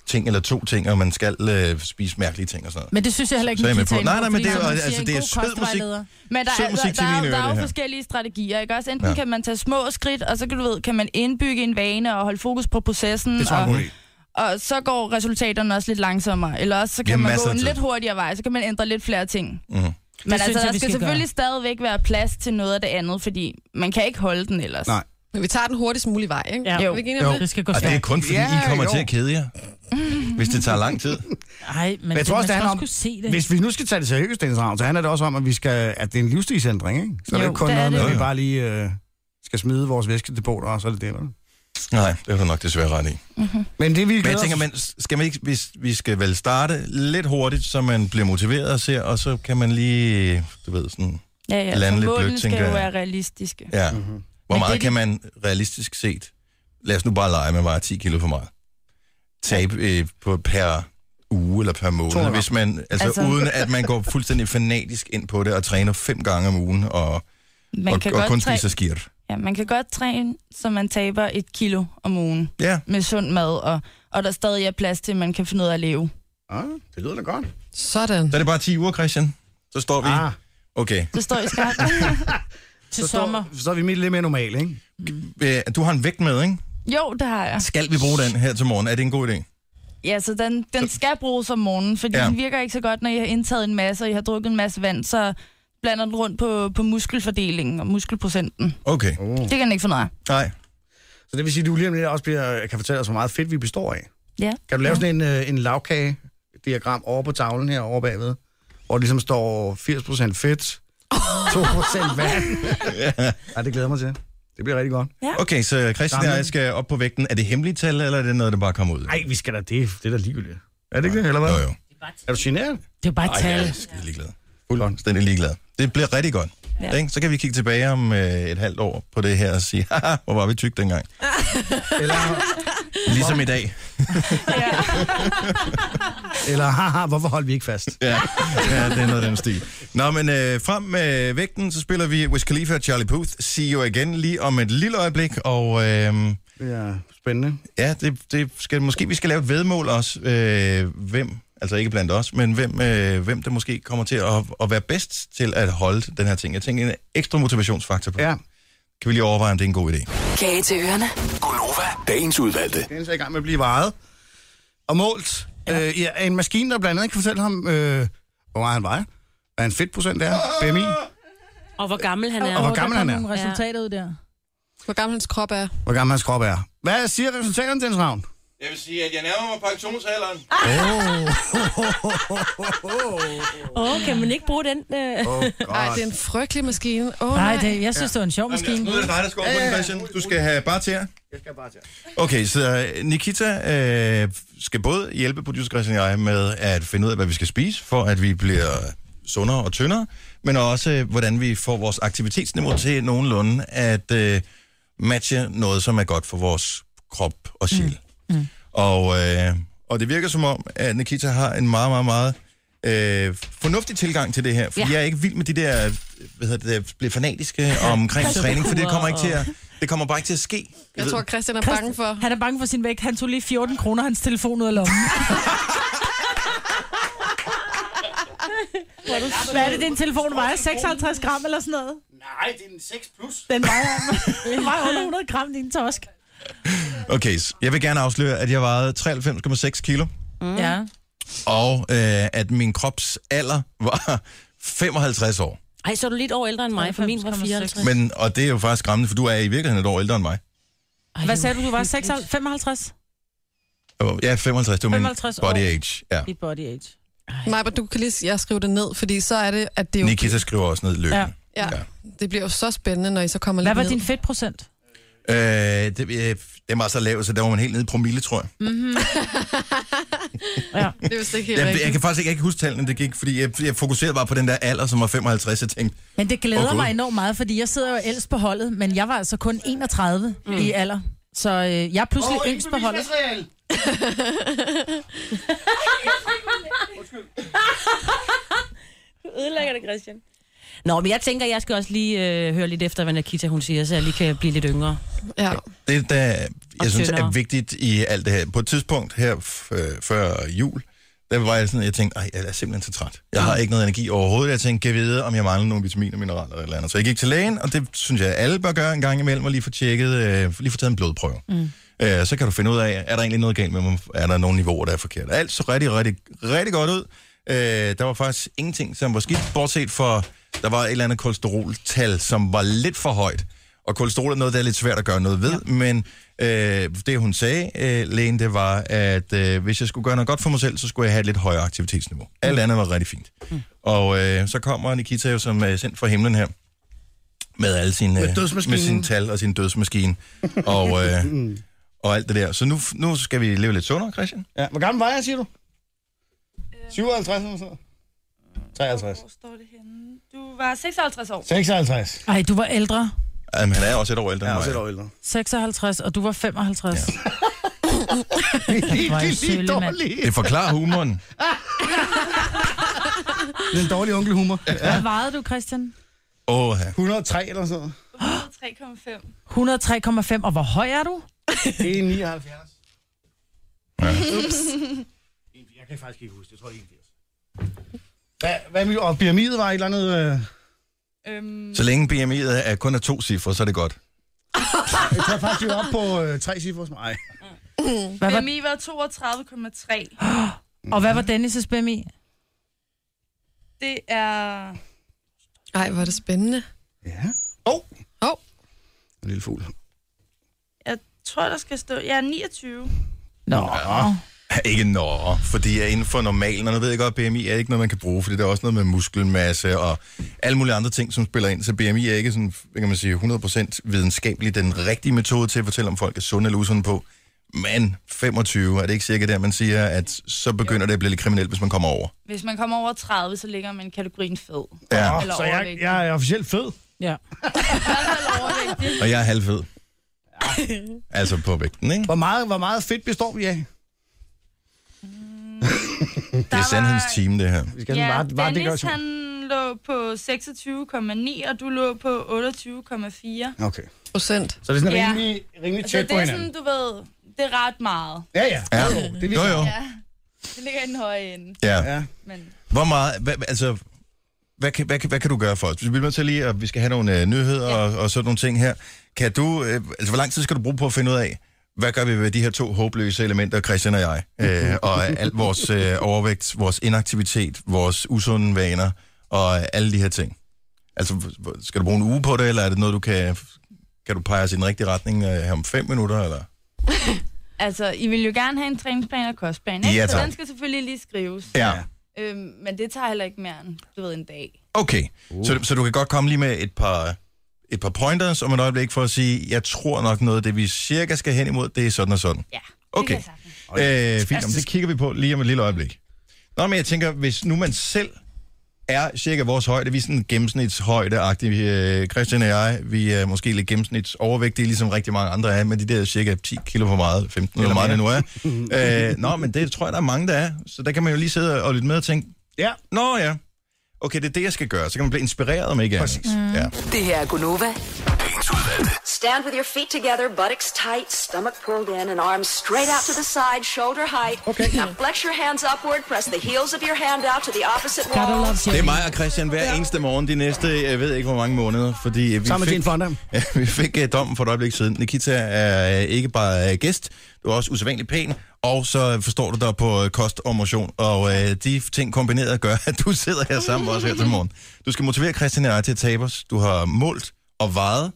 S1: ting eller to ting, og man skal øh, spise mærkelige ting og sådan noget.
S4: Men det synes jeg heller ikke,
S1: Så er jeg
S4: man
S1: med
S4: kan
S1: på.
S4: tale
S1: Nej,
S4: om,
S1: nej, men
S4: fordi
S1: det er jo-
S4: som man
S1: altså,
S4: siger,
S1: det
S4: en
S1: er
S4: god
S1: sød musik.
S4: kostvejleder.
S10: Men der,
S1: Sød
S10: er,
S1: musik
S10: der,
S1: til
S10: der, er
S1: mine
S10: jo-
S1: ører,
S10: der er
S1: det
S10: jo
S1: her.
S10: forskellige strategier, ikke også? Enten
S1: Ja.
S10: ja. kan man tage små skridt, og så kan du ved, kan man indbygge en vane og holde fokus på processen.
S2: Det tror jeg er en
S10: og,
S2: god idé.
S10: og så går resultaterne også lidt langsommere. Eller også så kan
S1: Jamen,
S10: man
S1: masser
S10: gå
S1: af
S10: en
S1: tid.
S10: lidt hurtigere vej, så kan man ændre lidt flere ting.
S2: Mm.
S1: Mhm. Det
S10: Men
S4: synes
S10: altså,
S4: jeg,
S10: der
S4: vi
S10: skal,
S4: skal
S10: selvfølgelig stadigvæk være plads til noget af det andet, fordi man kan ikke holde den ellers.
S2: Nej.
S6: Men vi tager den hurtigst mulige vej, ikke?
S4: Ja.
S6: Er vi ikke enige om det?
S4: Det skal gå
S1: Og det er
S4: stærkt.
S1: kun fordi,
S2: Ja,
S1: I kommer
S2: jo.
S1: til at kede jer, hvis det tager lang tid.
S4: Nej, men,
S2: Men jeg tror også, det
S4: man skal
S2: handler
S4: også
S2: om,
S4: kunne se det.
S2: hvis vi nu skal tage det seriøst, Dennis Ravn, så handler det også om, at, vi skal, at det er en livsstilsændring, ikke? Så jo, det er
S10: Jo,
S2: ikke kun
S10: det er
S2: noget med,
S1: det.
S2: at vi bare lige øh, skal smide vores væskedepoter, og så er det det, eller?
S1: Nej, det er du nok desværre ret i.
S2: Men det, vi
S1: Men jeg
S2: glæder
S1: tænker,
S2: os-
S1: men skal man ikke, hvis vi skal vel starte lidt hurtigt, så man bliver motiveret og ser, og så kan man lige, du ved, sådan,
S10: Ja, ja.
S1: Lande
S10: så
S1: lidt
S10: målene
S1: blødt,
S10: skal
S1: tænker jeg.
S10: jo være realistiske.
S1: ja. Mm-hmm. Hvor meget
S4: det-
S1: kan man realistisk set, lad os nu bare lege, man vejer 10 kilo for meget, tabe øh, på per uge eller per måned,
S2: gram.
S1: hvis man, altså, altså
S10: Altså-
S1: uden at man går fuldstændig fanatisk ind på det og træner fem gange om ugen og,
S10: Man,
S1: og,
S10: kan
S1: og kun
S10: godt træ-
S1: spiser skirt.
S10: ja, man kan godt træne, så man taber et kilo om ugen
S1: Ja,
S10: med sund mad, og, og der stadig er plads til, at man kan finde ud af at leve.
S2: Ah, det lyder da godt.
S6: Sådan.
S1: så er det bare 10 uger, Christian. Så står vi,
S2: Ah,
S1: okay,
S10: Det står i skarpt.
S4: Til
S2: så,
S4: sommer.
S2: står, så er vi midt lidt mere normalt, ikke?
S1: Øh, du har en vægt med, ikke?
S10: jo, det har jeg.
S1: Skal vi bruge den her til morgen? Er det en god idé?
S10: Ja, så den, den skal bruges om morgenen, fordi
S1: Ja.
S10: ja. den virker ikke så godt, når I har indtaget en masse, og I har drukket en masse vand, så blander den rundt på, på muskelfordelingen og muskelprocenten.
S2: Mm.
S1: Okay,
S10: Det kan den ikke få noget af.
S1: nej.
S2: Så det vil sige, at du lige om lidt også bliver, kan fortælle os, hvor meget fedt vi består af.
S10: Ja.
S2: Kan du lave sådan en, øh, en lavkage-diagram over på tavlen her over bagved, hvor det ligesom står 80% fedt, 2% vand? ja, det glæder jeg mig til. Det bliver rigtig godt.
S1: Ja. Okay, så Christian og jeg skal op på vægten. Er det hemmelige tal, eller er det noget, der bare kommer ud?
S2: Nej, vi skal da det. Det er da ligegyldigt. Er det ikke det, eller hvad?
S1: Jo, jo.
S2: Er du generet?
S4: Det er bare et
S1: Ej, jeg
S4: tal.
S1: er skide ligeglad. Fuldstændig ligeglad. Det bliver rigtig godt. Ja. Ikke? Så kan vi kigge tilbage om øh, et halvt år på det her og sige, haha, hvor var vi tyk dengang.
S2: Eller,
S1: Ligesom i dag.
S2: eller haha, hvorfor holdt vi ikke fast?
S1: Ja, ja det er noget af den stil. Nå, men øh, frem med vægten, så spiller vi Wiz Khalifa og Charlie Puth. See you again lige om et lille øjeblik, og... Øh,
S2: Ja, spændende.
S1: Ja, det, det skal, måske vi skal lave et vedmål også, øh, hvem, altså ikke blandt os, men hvem, øh, hvem der måske kommer til at, at være bedst til at holde den her ting. Jeg tænker en ekstra motivationsfaktor på.
S2: Ja.
S1: Kan vi lige overveje, om det er en god idé?
S7: Kage til ørerne.
S9: Gunova, dagens udvalgte.
S2: Dennis er i gang med at blive vejet og målt ja. øh, ja, af en maskine, der blandt andet kan fortælle ham, øh, hvor meget han vejer, hvad en fedtprocent er, BMI,
S3: Og hvor gammel han er.
S2: Og hvor
S4: Åh, der
S2: gammel
S4: kom
S2: han er.
S4: nogle resultater ud der.
S6: Hvor gammel hans krop er.
S2: hvor gammel hans krop er. Hvad siger resultaterne, Dennis Ravn?
S1: Jeg vil sige, at jeg nærmer mig pensionsalderen.
S3: Åh, oh, kan man ikke bruge den? Øh?
S2: Oh,
S6: Nej, det er en frygtelig maskine. Åh, oh,
S4: Nej,
S6: nej.
S4: det, jeg synes, det var en sjov maskine.
S1: Nu er det dig, der skal over på den, Christian. Du skal have bare til
S2: Jeg skal bare til.
S1: Okay, så Nikita øh, skal både hjælpe producer Christian og jeg med at finde ud af, hvad vi skal spise, for at vi bliver sundere og tyndere, men også øh, hvordan vi får vores aktivitetsniveau til nogenlunde at øh, matche noget, som er godt for vores krop og sjæl. Mm. Mm. Og, øh, og det virker som om, at Nikita har en meget, meget, meget øh, fornuftig tilgang til det her, for ja.
S3: Ja.
S1: jeg er ikke vild med de der, øh, hvad hedder det, der bliver fanatiske omkring træning, for det kommer ikke til at, det kommer bare ikke til at ske.
S6: Jeg tror, Christian er bange for.
S4: Han er bange for sin vægt. Han tog lige 14 kroner hans telefon ud af lommen. Hvad er det, din telefon vejer? 56 gram eller sådan noget?
S2: Nej, det er en 6 plus.
S4: Den vejer, den vejer under 100 gram, din tosk.
S1: Okay, s- jeg vil gerne afsløre, at jeg vejede 93,6 kilo,
S4: Mm. Ja.
S1: og øh, at min krops alder var 55 år.
S6: Mm.
S3: Ej, så er du lidt år ældre end mig, for min var 54.
S4: 95,6.
S1: Men, og det er jo faktisk skræmmende, for du er i virkeligheden et år ældre end mig.
S3: Ej,
S4: Hvad sagde du, du var 56, 55?
S1: Øh, Ja, 55, du er min
S4: 55 år.
S1: body age. Ja.
S4: I body age.
S6: Nej, men du kan lige s- jeg skrive det ned, fordi så er det, at det jo...
S1: Nikita skriver også ned løbende.
S6: Ja,
S1: Ja.
S6: det bliver jo så spændende, når I så kommer
S4: Hvad
S6: lidt
S4: var
S6: ned.
S4: din fedtprocent?
S1: Ja. Øh, det, øh, den var så lav, så der var man helt nede i promille, tror jeg.
S6: Det er vist ikke helt
S1: Jeg,
S6: rigtigt.
S1: jeg kan faktisk ikke, jeg kan ikke huske tallene, det gik, fordi jeg, jeg fokuserede bare på den der alder, som var 55, jeg tænkte,
S4: Men det glæder
S1: Åh,
S4: oh,
S1: Gud.
S4: mig enormt meget, fordi jeg sidder jo ældst på holdet, men jeg var altså kun 31 mm. i alder. Så øh, jeg er pludselig oh, yngst på holdet.
S3: ødelægger det, Christian. Nå, men jeg tænker, jeg skal også lige øh, høre lidt efter, hvad Nakita hun siger, så jeg lige kan blive lidt yngre.
S6: Ja.
S1: Det, der, jeg
S3: Og
S1: synes, er
S3: tyndere.
S1: vigtigt i alt det her. På et tidspunkt her f- øh, før jul, der var jeg sådan, jeg tænkte, Ej, jeg er simpelthen så træt. Jeg har ikke noget energi overhovedet. Jeg tænkte, kan jeg vide, om jeg mangler nogle vitaminer og mineraler eller et eller andet. Så jeg gik til lægen, og det synes jeg, alle bør gøre en gang imellem, og lige få tjekket, øh, lige få taget en blodprøve. Mm. Øh, så kan du finde ud af, er der egentlig noget galt med mig? Er der nogle niveauer, der er forkerte? Alt så rigtig, rigtig, rigtig godt ud. Øh, der var faktisk ingenting, som var skidt, bortset for, der var et eller andet kolesteroltal, som var lidt for højt. Og kolesterol er noget, der er lidt svært at gøre noget ved, ja. men øh, det hun sagde, øh, lægen, det var, at øh, hvis jeg skulle gøre noget godt for mig selv, så skulle jeg have et lidt højere aktivitetsniveau. Mm. Alt andet var rigtig fint. Mm. Og øh, så kommer Nikita jo som øh, sendt fra himlen her, med alle sine,
S2: Med
S1: øh, med
S2: dødsmaskinen. Mm.
S1: sine tal og sin dødsmaskine, og, øh, og alt det der. Så nu, nu skal vi leve lidt sundere, Christian.
S2: Ja, hvor gammel var jeg, siger du?
S4: Øh.
S2: 57 eller sådan noget? 53.
S10: Hvor står det henne? Du var 56 år.
S2: 56.
S4: Ej, du var ældre.
S1: Jamen, han er også et år ældre
S2: Jeg
S1: end mig.
S2: er også et år ældre.
S4: 56, og du var 55. Ja.
S2: Det
S4: var en
S2: er lige
S4: sølle mand.
S2: dårlig.
S1: Det forklarer humoren.
S2: Den dårlige onkelhumor.
S4: Hvad vejede du, Christian?
S1: Åh, oh,
S2: 103 eller sådan noget.
S10: 3,5.
S4: 103,5, og hvor høj er du?
S2: Det er 79.
S1: Ja.
S2: Jeg kan faktisk ikke huske det. Jeg tror, det er 81. Hvad, hvad med, og pyramidet var et eller andet... Øh,
S10: Øhm,
S1: Så længe BMI'et er kun er to cifre, så er det godt.
S2: jeg tror faktisk, vi var oppe på øh, tre cifre hos mig.
S4: Hvad var,
S10: BMI var 32,3.
S4: og hvad var Dennis' BMI?
S10: Det er...
S6: Ej, hvor er det spændende.
S2: Ja. Åh! Oh.
S6: Åh.
S2: En lille fugl.
S10: Jeg tror, der skal stå... Jeg er 29.
S4: Nå,
S1: Ikke nå, fordi jeg er inden for normalen, og nu ved jeg godt, at BMI er ikke noget, man kan bruge, fordi det er også noget med muskelmasse og alle mulige andre ting, som spiller ind. Så BMI er ikke sådan, hvad kan man sige, 100% videnskabelig den rigtige metode til at fortælle, om folk er sunde eller usunde på. Men 25, er det ikke cirka der, man siger, at så begynder det at blive lidt kriminelt, hvis man kommer over?
S10: Hvis man kommer over 30, så ligger man i kategorien fed.
S1: Ja,
S10: Eller
S2: Så jeg,
S10: overvægtig.
S2: jeg er officielt fed.
S4: Ja.
S1: og jeg er halvfed. Altså på vægten, ikke?
S2: Hvor meget, hvor meget fedt består vi af?
S1: Det er sandhedens time, det her.
S2: Vi skal
S10: Ja,
S2: bare, bare det gør
S10: Dennis,
S2: så.
S10: han lå på 26,9, og du lå på 28,4.
S2: Okay.
S6: Procent.
S2: Så det er sådan
S10: Ja.
S2: rimelig, rimelig
S10: Altså,
S2: tæt
S10: det
S2: på
S10: er
S2: hinanden.
S10: sådan, du ved, det er ret meget.
S2: Ja, ja.
S1: Ja.
S2: Det er
S1: Jo,
S2: ligesom,
S1: jo.
S10: Det ligger i den høje ende,
S1: Ja.
S2: ja.
S10: men...
S1: Hvor meget, hvad, altså, hvad kan, hvad, kan, hvad kan du gøre for os? Vi bliver nødt til lige, at vi skal have nogle øh, nyheder ja. og, og sådan nogle ting her. Kan du, øh, altså, hvor lang tid skal du bruge på at finde ud af, hvad gør vi ved de her to håbløse elementer, Christian og jeg? Øh, og alt vores øh, overvægt, vores inaktivitet, vores usunde vaner og øh, alle de her ting. Altså, h- h- skal du bruge en uge på det, eller er det noget, du kan, kan du pege os i den rigtige retning øh, her om fem minutter, eller?
S10: Altså, I vil jo gerne have en træningsplan og kostplan, ikke?
S1: Ja,
S10: så
S1: tak.
S10: den skal selvfølgelig lige skrives.
S1: Ja.
S10: Øhm, men det tager heller ikke mere end, du ved, en dag.
S1: Okay, uh. så, så du kan godt komme lige med et par, et par pointers om et øjeblik for at sige, jeg tror nok noget af det, vi cirka skal hen imod, det er sådan og sådan.
S10: Ja, det
S1: Okay.
S10: kan jeg sagtens.
S1: Øh, fint, Jamen, det kigger vi på lige om et lille øjeblik. Nå, men jeg tænker, hvis nu man selv er cirka vores højde, vi er sådan gennemsnitshøjde-agtige, øh, Christian og jeg, vi er måske lidt gennemsnitsovervægtige, ligesom rigtig mange andre er, men de der cirka 10 kilo for meget, 15 eller meget det nu er. øh, nå, men det tror jeg, der er mange, der er, så der kan man jo lige sidde og lytte med og tænke,
S2: Ja.
S1: Nå ja. Okay, det er det, jeg skal gøre. Så kan man blive inspireret, om ikke Præcis. Mm. Ja.
S7: Det her er Gunova.
S9: Dagens udvalgte.
S11: Stand with your feet together, buttocks tight, stomach pulled in, and arms straight out to the side, shoulder height. Okay. Now flex your hands upward, press the heels of your hand out to the opposite
S4: Gotta
S11: wall.
S4: love
S1: Det er
S4: Jenny.
S1: mig og Christian hver eneste morgen de næste, jeg ved ikke hvor mange måneder, fordi øh, vi
S2: Sammen med
S1: fik,
S2: Jane Fonda.
S1: Ja, vi fik uh, dommen for et øjeblik siden. Nikita er uh, ikke bare uh, gæst, du er også usædvanlig pæn, og så forstår du dig på uh, kost og motion, og uh, de ting kombineret gør, at du sidder her sammen med os her til morgen. Du skal motivere Christian og jeg til at tabe os. Du har målt og vejet,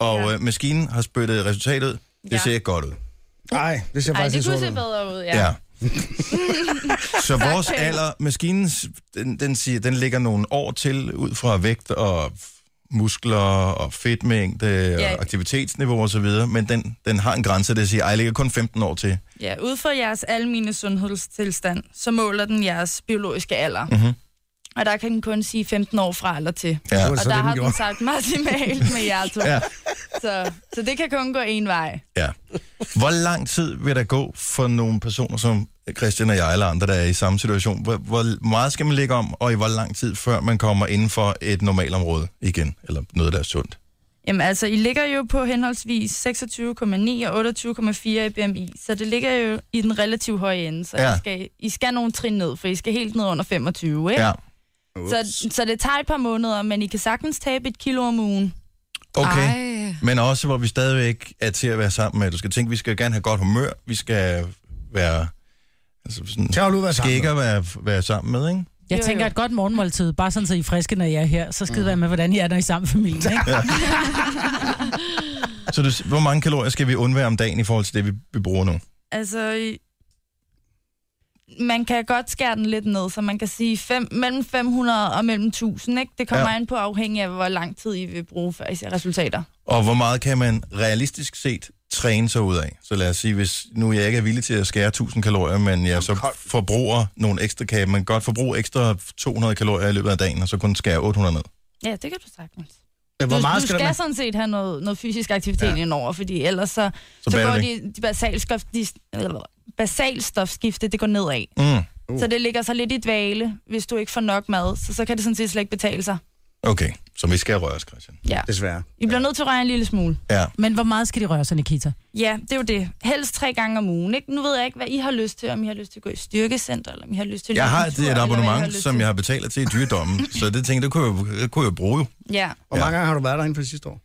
S1: og ja. uh, maskinen har spyttet resultatet ud. Det ja.
S10: Ja.
S1: ser godt ud.
S2: Nej, det ser
S10: Ej,
S2: faktisk
S10: det kunne
S2: lidt
S10: se
S2: sort ud.
S10: bedre ud, ja.
S1: Ja. så vores alder, maskinens, den, den, siger, den ligger nogle år til, ud fra vægt og f- muskler og fedtmængde og
S10: Ja.
S1: aktivitetsniveau og så videre, men den, den har en grænse, der siger, ej, jeg ligger kun 15 år til.
S10: Ja, ud fra jeres almene sundhedstilstand, så måler den jeres biologiske alder. Mm-hmm. Og der kan den kun sige 15 år fra eller til.
S1: Ja.
S10: Og
S2: Så det,
S10: der
S2: den
S10: har den
S2: gjorde.
S10: sagt maksimalt med jer to.
S1: Ja.
S10: Så, så det kan kun gå en vej.
S1: Ja. Hvor lang tid vil der gå for nogle personer som Christian og jeg eller andre, der er i samme situation? Hvor, hvor meget skal man lægge om, og i hvor lang tid, før man kommer inden for et normalområde igen, eller noget, der er sundt?
S10: Jamen altså, I ligger jo på henholdsvis 26,9 og 28,4 i BMI, så det ligger jo i den relativt høje ende. Så
S1: Ja.
S10: ja. I, skal, I skal nogle trin ned, for I skal helt ned under 25, ikke?
S1: Ja.
S10: Så, så det tager et par måneder, men I kan sagtens tabe et kilo om ugen.
S1: Okay.
S6: Ej.
S1: Men også, hvor vi stadigvæk er til at være sammen med. Du skal tænke, vi skal gerne have godt humør. Vi skal være... Altså sådan,
S2: Tag ud, hvad sammen.
S1: skægge at være, være sammen med, ikke?
S4: Jeg
S10: Jo, Mhm. jo.
S4: tænker et godt morgenmåltid, bare sådan, så I er friske, når I er her. Så skide være med, hvordan I er, når I er sammen i familien. Ikke?
S1: Så du, hvor mange kalorier skal vi undvære om dagen i forhold til det, vi, vi bruger nu?
S10: Altså, I- man kan godt skære den lidt ned, så man kan sige fem, mellem 500 og mellem 1000, ikke? Det kommer
S1: Ja.
S10: ja. an på afhængig af, hvor lang tid I vil bruge, før I ser resultater.
S1: Og hvor meget kan man realistisk set træne sig ud af? Så lad os sige, hvis nu jeg ikke er villig til at skære 1000 kalorier, men jeg så forbruger nogle ekstra kan man godt forbruge ekstra 200 kalorier i løbet af dagen, og så kun skære 800 ned.
S10: Ja, det kan du sagtens.
S2: Ja, Hvor
S10: du,
S2: meget
S10: du
S2: skal
S10: skal,
S2: der
S10: skal sådan set have noget, noget fysisk aktivitet ja. indover, fordi ellers så, så, så
S1: batter
S10: går
S1: det
S10: de, de basalstof, de, eller, basalstofskifte, det går nedad.
S1: Mm,
S10: Uh. Så det ligger så lidt i dvale, hvis du ikke får nok mad, så, så kan det sådan set slet ikke betale sig.
S1: okay, så vi skal røre os, Christian.
S10: Ja.
S2: Desværre.
S10: I bliver nødt til at røre en lille smule.
S1: Ja.
S4: Men hvor meget skal de røre sig, Nikita?
S10: Ja, det er jo det. Helst tre gange om ugen. Ikke? Nu ved jeg ikke, hvad I har lyst til, om I har lyst til at gå i styrkecenter, eller om I har lyst til at
S1: Jeg
S10: løbe
S1: har
S10: en tur,
S1: et, et
S10: eller hvad I
S1: abonnement,
S10: lyst
S1: som
S10: til.
S1: jeg har betalt til i dyredommen, så det tænkte jeg, det kunne jeg, jo- det kunne jeg jo bruge. jo.
S10: Ja,
S2: Hvor
S1: Ja.
S2: mange gange har du været derinde for det sidste år?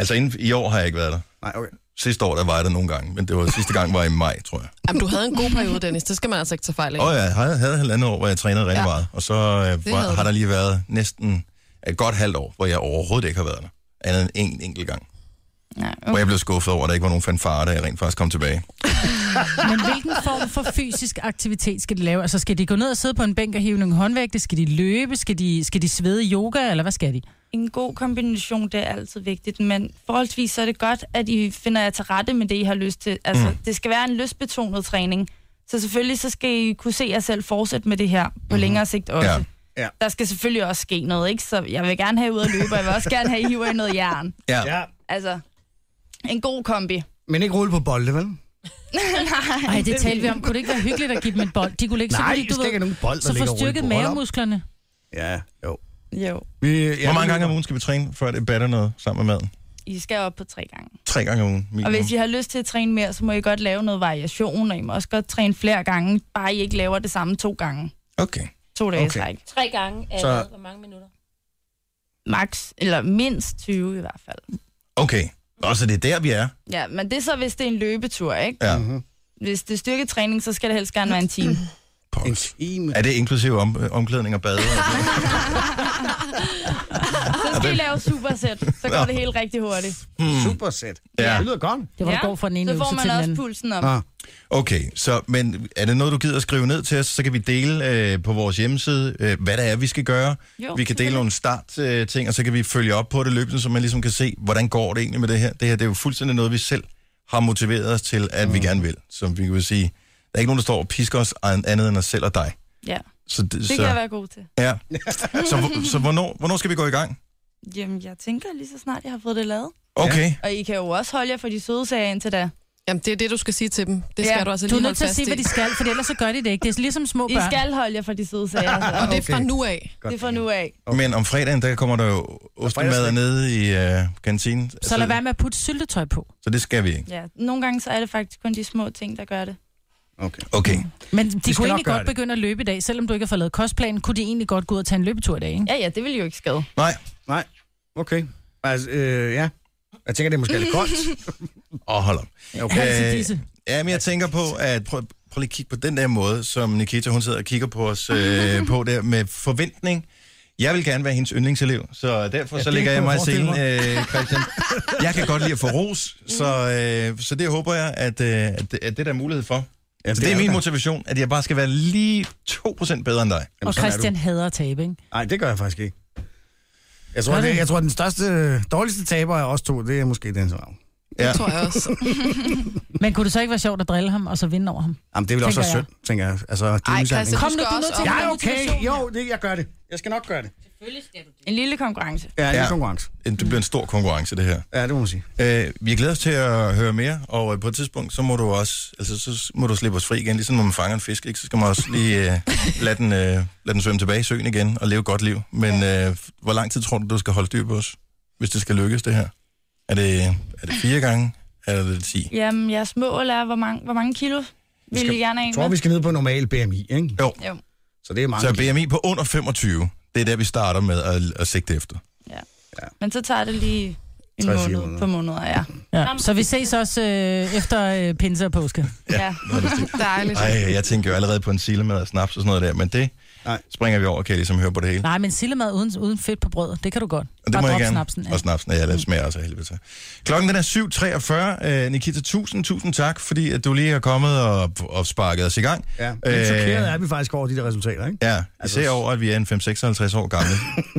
S1: Altså inden, i år har jeg ikke været der.
S2: Nej, okay.
S1: Sidste år, der var jeg der nogle gange, men det var sidste gang var i maj, tror jeg.
S6: Jamen, du havde en god periode, Dennis. Det skal man altså ikke tage fejl af.
S1: Og jeg havde, havde halvandet år, hvor jeg trænede rigtig ja. meget, og så øh,
S6: havde
S1: var,
S6: du.
S1: har der lige været næsten et godt halvt år, hvor jeg overhovedet ikke har været der, andet end en enkelt gang.
S10: Ja,
S1: okay. Hvor jeg blev skuffet over, at der ikke var nogen fanfare, da jeg rent faktisk kom tilbage.
S4: Men hvilken form for fysisk aktivitet skal de lave? Altså, skal de gå ned og sidde på en bænk og hive nogle håndvægte? Skal de løbe? Skal de, skal de svede i yoga, eller hvad skal de?
S10: En god kombination, det er altid vigtigt, men forholdsvis så er det godt, at I finder jer til rette med det, I har lyst til. Altså,
S4: Mm.
S10: mm. det skal være en lystbetonet træning. Så selvfølgelig så skal I kunne se jer selv fortsætte med det her på længere sigt også.
S1: Mm-hmm. Ja.
S10: Ja.
S2: Ja.
S10: Der skal selvfølgelig også ske noget, ikke? Så jeg vil gerne have jer ud at løbe, og jeg vil også gerne have, at I hiver i noget jern.
S1: Ja.
S2: ja.
S10: Altså, en god kombi.
S2: Men ikke rulle på bolde, vel?
S10: Nej,
S4: Ej, det talte vi om. Kunne det ikke være hyggeligt at give dem en bold? De kunne ligge så
S2: Nej,
S4: kunne de-
S2: I skal ikke have nogen bold, der
S4: Så
S2: ligger
S4: få
S2: rundt
S4: styrket
S2: på. Hold op.
S4: mavemusklerne.
S2: Ja, jo.
S10: Jo,
S2: Vi,
S1: Hvor mange gange om ugen skal vi træne, før det batter noget sammen med maden?
S10: I skal op på tre gange.
S1: Tre gange om ugen.
S10: Og
S1: Minimum.
S10: hvis I har lyst til at træne mere, så må I godt lave noget variation, og I må også godt træne flere gange, bare I ikke laver det samme to gange.
S1: Okay.
S10: To dage okay.
S2: Okay.
S10: træk.
S3: Tre gange af
S2: Så-
S3: hvad? hvor mange minutter?
S10: Max, eller mindst 20 i hvert fald.
S1: Okay. Og så det er der, vi er.
S10: Ja, men det er så, hvis det er en løbetur, ikke?
S1: Ja.
S10: Hvis det er styrketræning, så skal det helst gerne være en time.
S2: En time.
S1: Er det inklusive om, øh, omklædning og bade?
S10: Så skal I lave supersæt, så går det helt rigtig hurtigt.
S1: hmm.
S2: Super set.
S1: Ja.
S2: Mm. Ja. Det lyder godt.
S4: Det var ja.
S10: Ja,
S4: der går fra den ene
S10: Så får
S4: øvelse til
S10: man
S4: den
S10: også
S4: anden.
S10: pulsen op.
S2: Ah.
S1: Okay, så, men er det noget, du gider at skrive ned til os? Så kan vi dele øh, på vores hjemmeside, øh, hvad det er, vi skal gøre.
S10: Jo,
S1: vi kan dele
S10: selvfølgelig.
S1: nogle startting, øh, ting, og så kan vi følge op på det løbende, så man ligesom kan se, hvordan går det egentlig med det her. Det her det er jo fuldstændig noget, vi selv har motiveret os til, at mm. vi gerne vil. Som vi kan sige, der er ikke nogen, der står og pisker os an- andet end os selv og dig.
S10: Ja,
S1: Så, det
S10: det
S1: så,
S10: kan jeg være god til.
S1: ja. så, hvor- så hvornår, hvornår skal vi gå i gang?
S10: Jamen, jeg tænker lige så snart, jeg har fået det lavet.
S1: Okay.
S10: Og I kan jo også holde jer for de søde sager indtil da.
S6: Jamen, det er det, du skal sige til dem. Det
S10: Ja,
S6: skal du altså
S4: Du er
S6: lige
S4: nødt
S6: holde
S4: til at
S6: fast i.
S4: sige, hvad de skal, for ellers så gør de det ikke. Det er ligesom små
S10: I
S4: børn.
S10: skal holde jer for de søde sager. altså.
S6: Og det er fra
S2: Okay.
S6: nu af.
S2: Godt.
S10: Det er fra nu af.
S1: Okay. Men om fredagen, der kommer der jo ostemad
S2: fredagslik.
S1: nede i øh, kantinen. Altså,
S4: Så lad være med at putte syltetøj på.
S1: så det skal vi ikke.
S10: Ja, nogle gange så er det faktisk kun de små ting, der gør det.
S2: Okay.
S1: Okay.
S4: Men de
S2: skal
S4: kunne
S2: nok
S4: egentlig
S2: gøre
S4: godt
S2: det.
S4: begynde at løbe i dag, selvom du ikke har fået lavet kostplanen, kunne de egentlig godt gå ud og tage en løbetur i dag, ikke?
S10: Ja, ja, det vil jo ikke skade.
S1: Nej,
S2: Nej. Okay. Altså, øh, ja. Jeg tænker, det er måske lidt koldt.
S1: og hold op.
S4: Hals i
S1: Øh,
S4: disse.
S1: Ja, men jeg tænker på, at prøv, prøv lige at kigge på den der måde, som Nikita, hun sidder og kigger på os øh, på der med forventning. Jeg vil gerne være hendes yndlingselev, så derfor ja,
S2: Ja,
S1: så
S2: det
S1: lægger jeg
S2: kan jeg
S1: mig i
S2: forestille
S1: scenen, øh, Christian. Jeg kan godt lide at få ros, så, øh, så det håber jeg, at, øh, at, det- at det er der er mulighed for.
S2: Jamen,
S1: så det er min
S2: der.
S1: motivation, at jeg bare skal være lige 2% bedre end dig.
S2: Jamen,
S4: Og
S2: sådan er
S4: Christian hader at tabe, ikke?
S2: du. Nej, det gør jeg faktisk ikke. Jeg tror,
S4: Gør
S2: det,
S4: det?
S2: jeg tror, den største, dårligste taber af os to, det er måske den som
S1: Ja.
S6: Det tror jeg også.
S4: Men kunne det så ikke være sjovt at drille ham, og så vinde over ham?
S2: Jamen, det vil også være
S4: Tænker
S2: synd, tænker jeg. Altså, det er
S6: Ej,
S2: Ej,
S6: Christian,
S4: Kom
S6: du
S4: nu,
S6: skal
S4: du er
S6: også
S4: nødt til
S6: op.
S4: at-
S2: Jeg er okay. Jo, det, jeg gør det. Jeg skal nok gøre det.
S10: En lille konkurrence.
S2: Ja, det er
S1: Ja.
S2: en konkurrence.
S1: Det bliver en stor konkurrence, det her.
S2: Ja, det må man sige.
S1: Øh, vi glæder os til at høre mere, og øh, på et tidspunkt, så må du også, altså, så må du slippe os fri igen, ligesom når man fanger en fisk, ikke? så skal man også lige øh, lade, den, øh, lade den svømme tilbage i søen igen og leve et godt liv. Men øh, hvor lang tid tror du, du skal holde styr på os, hvis det skal lykkes, det her? Er det, er det fire gange, eller er det ti?
S10: Jamen, jeres mål er, hvor mange, hvor mange kilo vil
S2: skal-
S10: I gerne have
S2: Jeg
S10: en
S2: tror,
S10: med?
S2: vi skal ned på normal BMI, ikke?
S1: Jo.
S10: Jo.
S2: Så det er mange.
S1: Så BMI på under 25, det er der, vi starter med at, at sigte efter.
S10: Men så tager det lige en
S2: 3-4
S10: måned
S2: måneder.
S10: på måneder, ja.
S4: Ja. Så vi ses også øh, efter øh, pinse og påske.
S10: ja.
S1: Noget af den stil.
S6: Dejligt.
S1: Ej, jeg tænker jo allerede på en silemad og snaps og sådan noget der, men det
S2: Nej.
S1: springer vi over, kan jeg ligesom høre på det hele.
S4: Nej, men sillemad uden, uden fedt på brød, det kan du godt.
S1: Og det
S4: Bare
S1: må jeg
S4: drop
S1: gerne.
S4: snapsen, ja.
S1: Og snapsen, ja, den smager også af helvede til. Klokken den er 7.43. Øh, Nikita, tusind, tusind tak, fordi at du lige er kommet og, og sparket os i gang.
S2: Ja, men chokeret er vi faktisk over de der resultater, ikke?
S1: Øh. Ja, især altså... over, at vi er en 5-56 år gamle.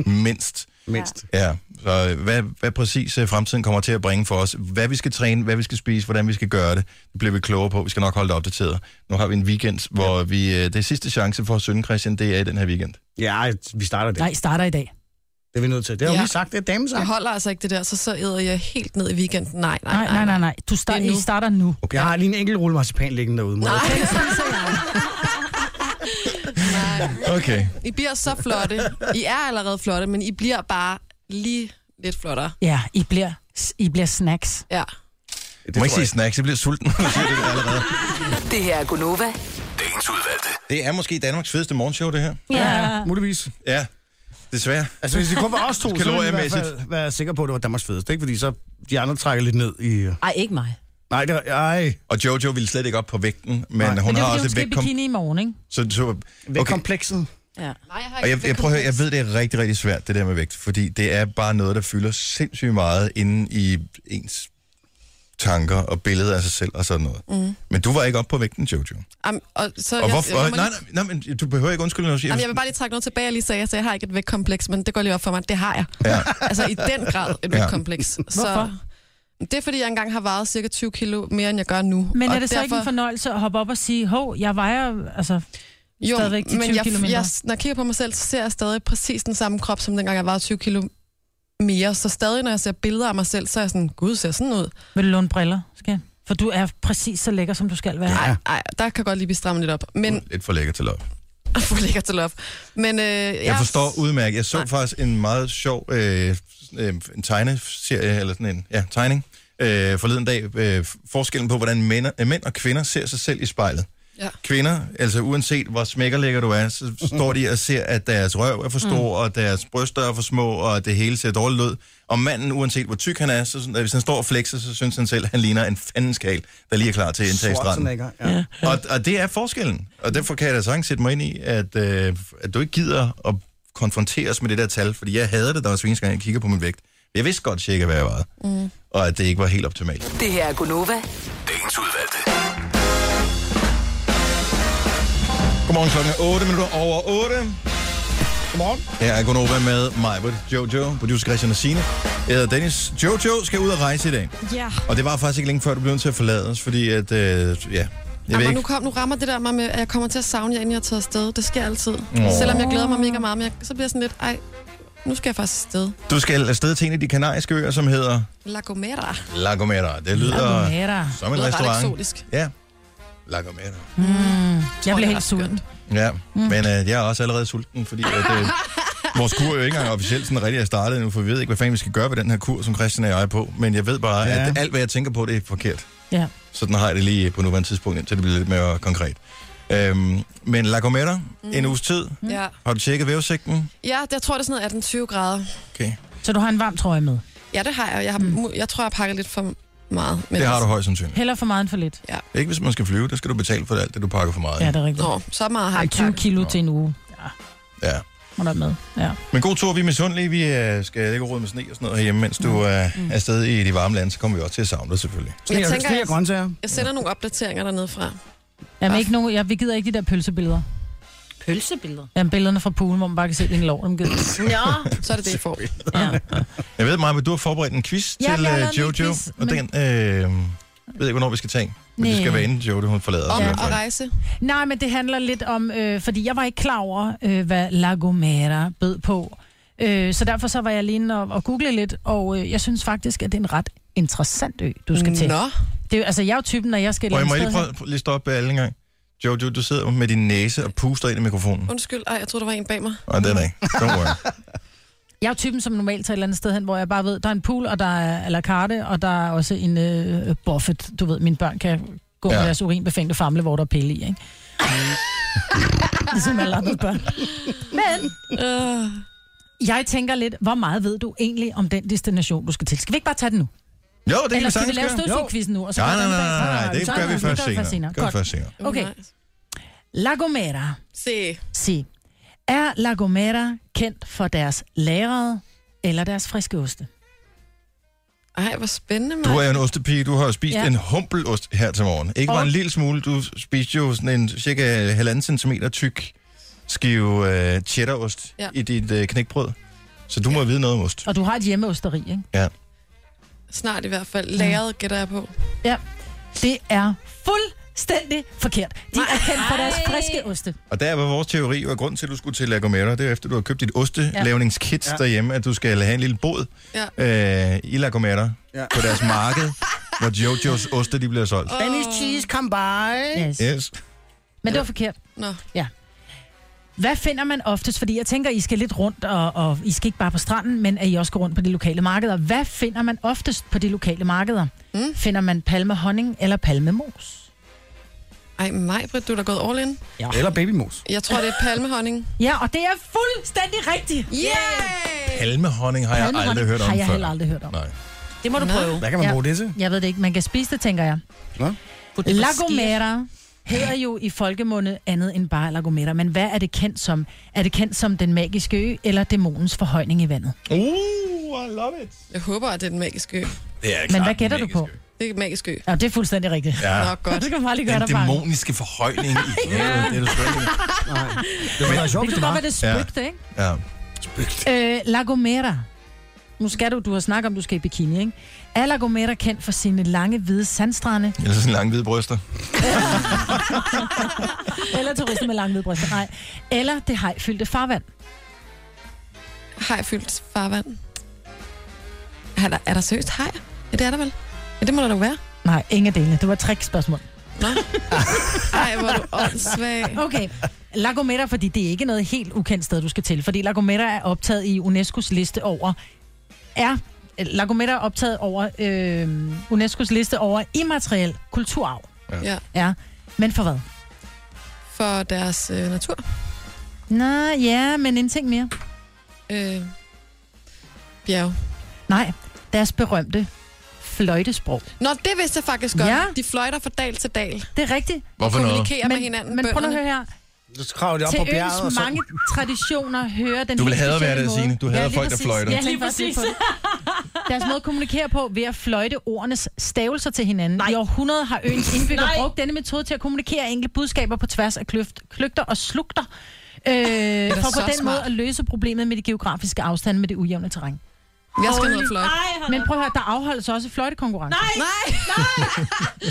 S1: Mindst.
S2: Mindst.
S1: Ja, så øh, hvad, hvad præcis øh, fremtiden kommer til at bringe for os. Hvad vi skal træne, hvad vi skal spise, hvordan vi skal gøre det. Det bliver vi klogere på. Vi skal nok holde dig opdateret. Nu har vi en weekend, hvor vi... Øh, det er sidste chance for at synge, Christian, det er i den her weekend.
S2: Ja, vi starter det.
S4: Nej, starter i dag.
S2: Det er vi nødt til. Det har ja.
S6: Ja.
S2: vi sagt, det er damen
S6: Jeg
S2: sagt.
S6: holder altså ikke det der, så så æder jeg helt ned i weekenden. Nej, nej,
S4: Nej, nej, nej, nej. Du start,
S6: Det er
S4: I
S6: nu.
S4: starter nu.
S2: Okay. Jeg har lige en enkelt rulle marcipan liggende derude. Nej.
S1: Okay.
S6: I bliver så flotte. I er allerede flotte, men I bliver bare lige lidt flottere.
S4: Ja, I bliver, I bliver snacks.
S6: Ja.
S1: Du må ikke sige snacks, jeg bliver sulten. når du siger det allerede.
S7: Det her er Gunova.
S9: Dagens udvalgte.
S1: Det er måske Danmarks fedeste morgenshow, det her.
S4: Ja.
S2: Muligvis.
S1: Ja, desværre.
S2: Altså, hvis det kun var os to, så ville vi i hvert
S1: Kaloriemæssigt.
S2: fald være sikre på, at det var Danmarks fedeste, ikke? Fordi så de andre trækker lidt ned i...
S3: Ej, ikke mig.
S2: Nej, det var... Ej.
S1: Og Jojo ville slet ikke op på vægten, men Nej.
S2: Nej.
S1: hun
S4: Men det er
S1: har
S4: fordi,
S1: også
S4: hun
S1: et
S4: skal i
S1: vægtkom...
S4: bikini i morgen, ikke?
S1: Så, så,
S2: Okay.
S1: okay.
S2: Komplekset.
S3: Ja.
S6: Nej, jeg har
S1: Og jeg, jeg, prøver, at høre, jeg ved, det er rigtig, rigtig svært, det der med vægt, fordi det er bare noget, der fylder sindssygt meget inde i ens tanker og billeder af sig selv og sådan noget.
S6: Mm.
S1: Men du var ikke oppe på vægten, Jojo.
S6: Am, og så
S1: og
S6: jeg,
S1: hvorfor?
S6: jeg,
S1: Jeg,
S6: jeg,
S1: nej, nej, nej, men du behøver ikke undskylde noget.
S6: Jamen, jeg vil bare lige trække noget tilbage, jeg lige sagde, så jeg har ikke et vægtkompleks, men det går lige op for mig, det har jeg.
S1: Ja.
S6: Altså i den grad et
S1: Ja.
S6: vægtkompleks. Så,
S4: Hvorfor?
S6: det er, fordi jeg engang har vejet cirka 20 kilo mere, end jeg gør nu.
S4: Men er
S6: og
S4: det så
S6: derfor...
S4: ikke en fornøjelse at hoppe op og sige, hov, jeg vejer altså,
S6: jo,
S4: stadigvæk de 20
S6: men jeg,
S4: kilo mindre?
S6: jeg, når jeg kigger på mig selv, så ser jeg stadig præcis den samme krop, som dengang jeg vejede 20 kilo mere. Så stadig, når jeg ser billeder af mig selv, så er jeg sådan, gud, ser jeg sådan ud?
S4: Vil du låne briller? Skal jeg? For du er præcis så lækker, som du skal være.
S6: Nej, nej, der kan godt lige blive strammet lidt op. Men,
S1: Lidt for lækker til lov.
S6: for lækker til op. Men, øh,
S1: Jeg forstår udmærket. Jeg så faktisk en meget sjov øh, øh, en tegneserie, eller sådan en ja, tegning, øh, forleden dag. Øh, forskellen på, hvordan mænd, øh, mænd og kvinder ser sig selv i spejlet.
S6: Ja.
S1: Kvinder, altså uanset hvor smækkerlækker du er, så står de og ser, at deres røv er for stor, mm. og deres bryster er for små, og det hele ser dårligt ud. Og manden, uanset hvor tyk han er, så, sådan, at hvis han står og flexer, så synes han selv, at han ligner en fandenskal, der lige er klar til at indtage stranden.
S2: Schwarzenegger, ja.
S1: Og, og det er forskellen. Og derfor kan jeg da sagtens sætte mig ind i, at, øh, at du ikke gider at konfronteres med det der tal, fordi jeg havde det, der var svinsk, jeg kigger på min vægt. Jeg vidste godt cirka, hvad jeg vejede,
S7: Mm.
S1: og at det ikke var helt optimalt.
S7: Det her er Gunova.
S9: Dagens udvalgte.
S1: Godmorgen klokken er 8 minutter over 8. Godmorgen. Her er Gunova med mig, Jojo, producer Christian og Signe. Jeg hedder Dennis. Jojo skal ud og rejse i dag.
S6: Ja.
S1: Og det var faktisk ikke længe før, du blev nødt til at forlade os, fordi at, øh, ja, jeg ved
S6: Jamen,
S1: ikke.
S6: nu, kom, nu rammer det der mig med, at jeg kommer til at savne jer, inden jeg tager afsted. Det sker altid.
S1: Åh.
S6: Selvom jeg glæder mig mega meget, men jeg, så bliver jeg sådan lidt, ej, nu skal jeg faktisk afsted.
S1: Du skal afsted til en af de kanariske øer, som hedder
S6: La Gomera.
S1: La Gomera. Det lyder som en
S6: Lyder ret
S1: restaurant.
S6: eksotisk.
S1: Ja, La Gomera.
S4: Mm. Jeg bliver
S6: jeg er
S4: helt
S6: ret
S4: sulten.
S1: Ja,
S4: Mm.
S1: mm. men øh, jeg er også allerede sulten, fordi at, øh, vores kur er jo ikke engang officielt sådan rigtig er startet endnu, for vi ved ikke, hvad fanden vi skal gøre ved den her kur, som Christian og jeg er på. Men jeg ved bare, ja.
S2: Ja.
S1: at alt, hvad jeg tænker på, det er forkert.
S4: Ja.
S1: Så den har jeg det lige på nuværende tidspunkt, indtil det bliver lidt mere konkret. Øhm, men La Gomera, mm. en uges tid.
S6: Ja.
S1: Har du tjekket vævesigten?
S6: ja, det- jeg tror, det er sådan noget 18-20 grader.
S1: Okay.
S4: Så du har en varm trøje med.
S6: Ja, det har jeg. Jeg, har,
S4: Mm.
S6: mu- jeg tror, jeg har pakket lidt for meget. Men altså-
S1: Det har du højst sandsynligt.
S4: Heller for meget end for lidt.
S1: Ikke hvis man skal flyve, der skal du betale for alt det, du pakker for meget.
S4: Ja,
S1: i.
S4: det er rigtigt.
S6: Nå, så meget har
S4: Ej,
S6: jeg
S4: 20
S6: pakket.
S4: kilo til en uge. Ja,
S1: ja.
S4: må der med. Ja.
S1: Men god tur, vi er misundelige. Vi øh, skal ikke råd med sne og sådan noget herhjemme, mens du er øh, er afsted i de varme lande, så kommer vi også til at savne dig selvfølgelig.
S2: Sne
S6: Jeg
S2: og-
S6: tænker,
S2: sne
S6: jeg-
S2: og grøntsager.
S6: Jeg sender nogle opdateringer dernede fra.
S4: Jamen, ikke nogen, ja, vi gider ikke de der pølsebilleder.
S3: Pølsebilleder.
S4: Jamen, billederne fra poolen, hvor man bare kan se din lov. Dem gider. vi.
S3: Nå,
S6: Så er det det, I får.
S4: Ja.
S1: Jeg ved, Maja, at du har forberedt en quiz
S4: Ja,
S1: til
S4: jeg har
S1: øh,
S4: lavet en
S1: Jojo,
S4: lille quiz,
S1: og den øh, ved ikke, hvornår vi skal tage. Men det
S4: Næh.
S1: skal være inden Jojo, hun forlader. os
S6: Om
S1: i hvert
S6: at
S1: fald.
S6: rejse.
S4: Nej, men det handler lidt om, øh, fordi jeg var ikke klar over, øh, hvad La Gomera bød på. Øh, så derfor så var jeg lige inde og, og google lidt, og øh, jeg synes faktisk, at det er en ret interessant ø, du skal til.
S6: Nå,
S4: Det, er jo- altså, jeg er jo typen, når jeg skal et
S1: Prøv, Mm, jeg
S4: eller
S1: må
S4: andet
S1: lige
S4: sted
S1: prøve prøv lige stoppe øh, alle en gang. Jojo, du sidder med din næse og puster ind i mikrofonen.
S6: undskyld. Ej, jeg troede, der var en bag mig.
S1: Nej, det er der ikke. Don't worry.
S4: hen- jeg er jo typen, som normalt tager et eller andet sted hen, hvor jeg bare ved, der er en pool, og der er à la carte, og der er også en øh, buffet. Du ved, mine børn kan gå ja.
S1: Ja.
S4: med deres urinbefængte famle, hvor der er pille i, ikke? ligesom alle andre børn. Men
S6: Øh,
S4: jeg tænker lidt, hvor meget ved du egentlig om den destination, du skal til? Skal vi ikke bare tage den nu?
S1: Jo, det kan
S4: Eller
S1: vi
S4: skal vi
S1: sagtens
S4: lave
S1: gøre.
S4: stødfugkvisten nu? Og så
S1: Nej,
S4: gør
S1: nej,
S4: vi
S1: nej,
S4: den
S1: nej, nej,
S4: bagefter?
S1: det gør vi
S4: det
S1: først
S4: gør vi
S1: senere. Gør vi
S4: Godt.
S1: først senere.
S4: Okay.
S6: nice.
S4: La Gomera,
S6: Se.
S4: sig. Er La Gomera kendt for deres lærede eller deres friske oste?
S6: Ej, hvor spændende,
S1: Du er
S6: mand.
S1: jo en ostepige. Du har jo spist
S4: Ja.
S1: ja. en humpelost her til morgen. Ikke bare
S4: Og-
S1: en lille smule. Du spiste jo sådan en cirka halvanden centimeter tyk skive øh, cheddarost
S6: Ja.
S1: ja. i dit øh, knækbrød. Så du må vide noget om ost.
S4: Og du har et hjemmeosteri, ikke?
S6: Snart i hvert fald. Læret gætter jeg på.
S4: Det er fuldstændig forkert. De er kendt for deres friske oste.
S1: Og der var vores teori, og grund til, at du skulle til La Gomera, det er efter, du har købt dit ostelavningskit ja.
S2: Ja.
S1: derhjemme, at du skal have en lille båd
S6: Ja.
S1: øh, i La Gomera
S2: Ja.
S1: på deres marked, hvor Jojos oste de bliver solgt.
S2: Spanish cheese come by.
S4: Yes.
S1: Yes.
S4: Men det var forkert.
S6: Nå.
S4: Hvad finder man oftest? Fordi jeg tænker, I skal lidt rundt, og, og I skal ikke bare på stranden, men at I også går rundt på de lokale markeder. Hvad finder man oftest på de lokale markeder? Mm. Finder man palmehonning eller palmemos?
S6: Ej, mig, Britt, du er da gået all in.
S2: Eller babymos.
S6: Jeg tror, det er palmehonning.
S4: Ja, og det er fuldstændig rigtigt.
S6: Yeah!
S1: Palmehonning har jeg aldrig hørt om
S4: har jeg
S1: før.
S4: heller aldrig hørt om.
S1: Nej.
S3: det må du
S6: Nå.
S3: prøve.
S2: Hvad kan man
S4: Ja.
S2: bruge det til?
S4: Jeg ved det ikke. Man kan spise det, tænker jeg.
S3: Put det på
S4: La
S3: skier.
S4: Gomera hedder jo i folkemunde andet end bare La Gomera, men hvad er det kendt som? Er det kendt som den magiske ø eller dæmonens forhøjning i vandet?
S1: Uh, I love it.
S6: Jeg håber, at det er den magiske ø.
S1: Det er
S4: Men hvad gætter du på?
S6: Det er magisk ø.
S4: Ja, det er fuldstændig rigtigt.
S1: Ja.
S6: Nå, godt.
S4: Du kan bare lige gøre
S1: Den
S4: dig bange.
S1: dæmoniske forhøjning i ja. det er du sgu ikke. Nej.
S4: Det
S1: Men-
S4: kunne godt være det
S1: Ja.
S4: spøgte, ikke?
S1: Ja.
S4: Øh, La Gomera. Nu skal du, du har snakket om, du skal i bikini, ikke? Er La Gomera kendt for sine lange, hvide sandstrande?
S1: Eller sådan lange hvide bryster.
S4: Eller turister med lange, hvide bryster? Nej. Eller det hajfyldte farvand?
S6: Hajfyldt farvand. Er der, er der seriøst hej? Ja, det er der vel? Ja, det må der da være.
S4: Nej, ingen af delene. Det var et trickspørgsmål.
S6: Ej, hvor er du åndssvag.
S4: Okay. La Gomera, fordi det er ikke noget helt ukendt sted, du skal til. Fordi La Gomera er optaget i UNESCO's liste over... Er La Gomera er optaget over øh, UNESCO's liste over immateriel kulturarv.
S6: Ja.
S4: Ja. Men for hvad?
S6: For deres øh, natur.
S4: Nå, ja, men en ting mere.
S6: Øh, bjerg.
S4: Nej, deres berømte fløjtesprog.
S6: Nå, det vidste jeg faktisk godt.
S4: Ja.
S6: Ja. De fløjter fra dal til dal.
S4: Det er rigtigt.
S1: Hvorfor noget?
S6: Kommunikerer med
S4: Men,
S6: hinanden.
S4: men prøv nu at
S6: bønderne.
S4: høre her.
S2: Så kravler det op
S4: Til
S2: på
S4: øens
S2: bjerget, og så...
S4: mange traditioner hører den
S1: Du vil
S4: helt
S1: hade at være
S4: specielle
S1: der, Signe.
S4: måde.
S1: Du hader
S4: lige
S1: folk, der
S4: præcis.
S1: fløjter.
S4: Ja, lige præcis. Deres måde at kommunikere på ved at fløjte ordenes stavelser til hinanden. Nej. I århundreder har øens indbyggere
S3: Nej.
S4: brugt denne metode til at kommunikere enkle budskaber på tværs af kløft, kløgter og slugter. Øh, for på
S6: så
S4: den
S6: smart.
S4: måde at løse problemet med de geografiske afstande med det ujævne terræn.
S6: Jeg skal ned og fløjte.
S3: Nej, hold
S4: Men prøv at høre, der afholdes også fløjtekonkurrencer.
S3: Nej, nej,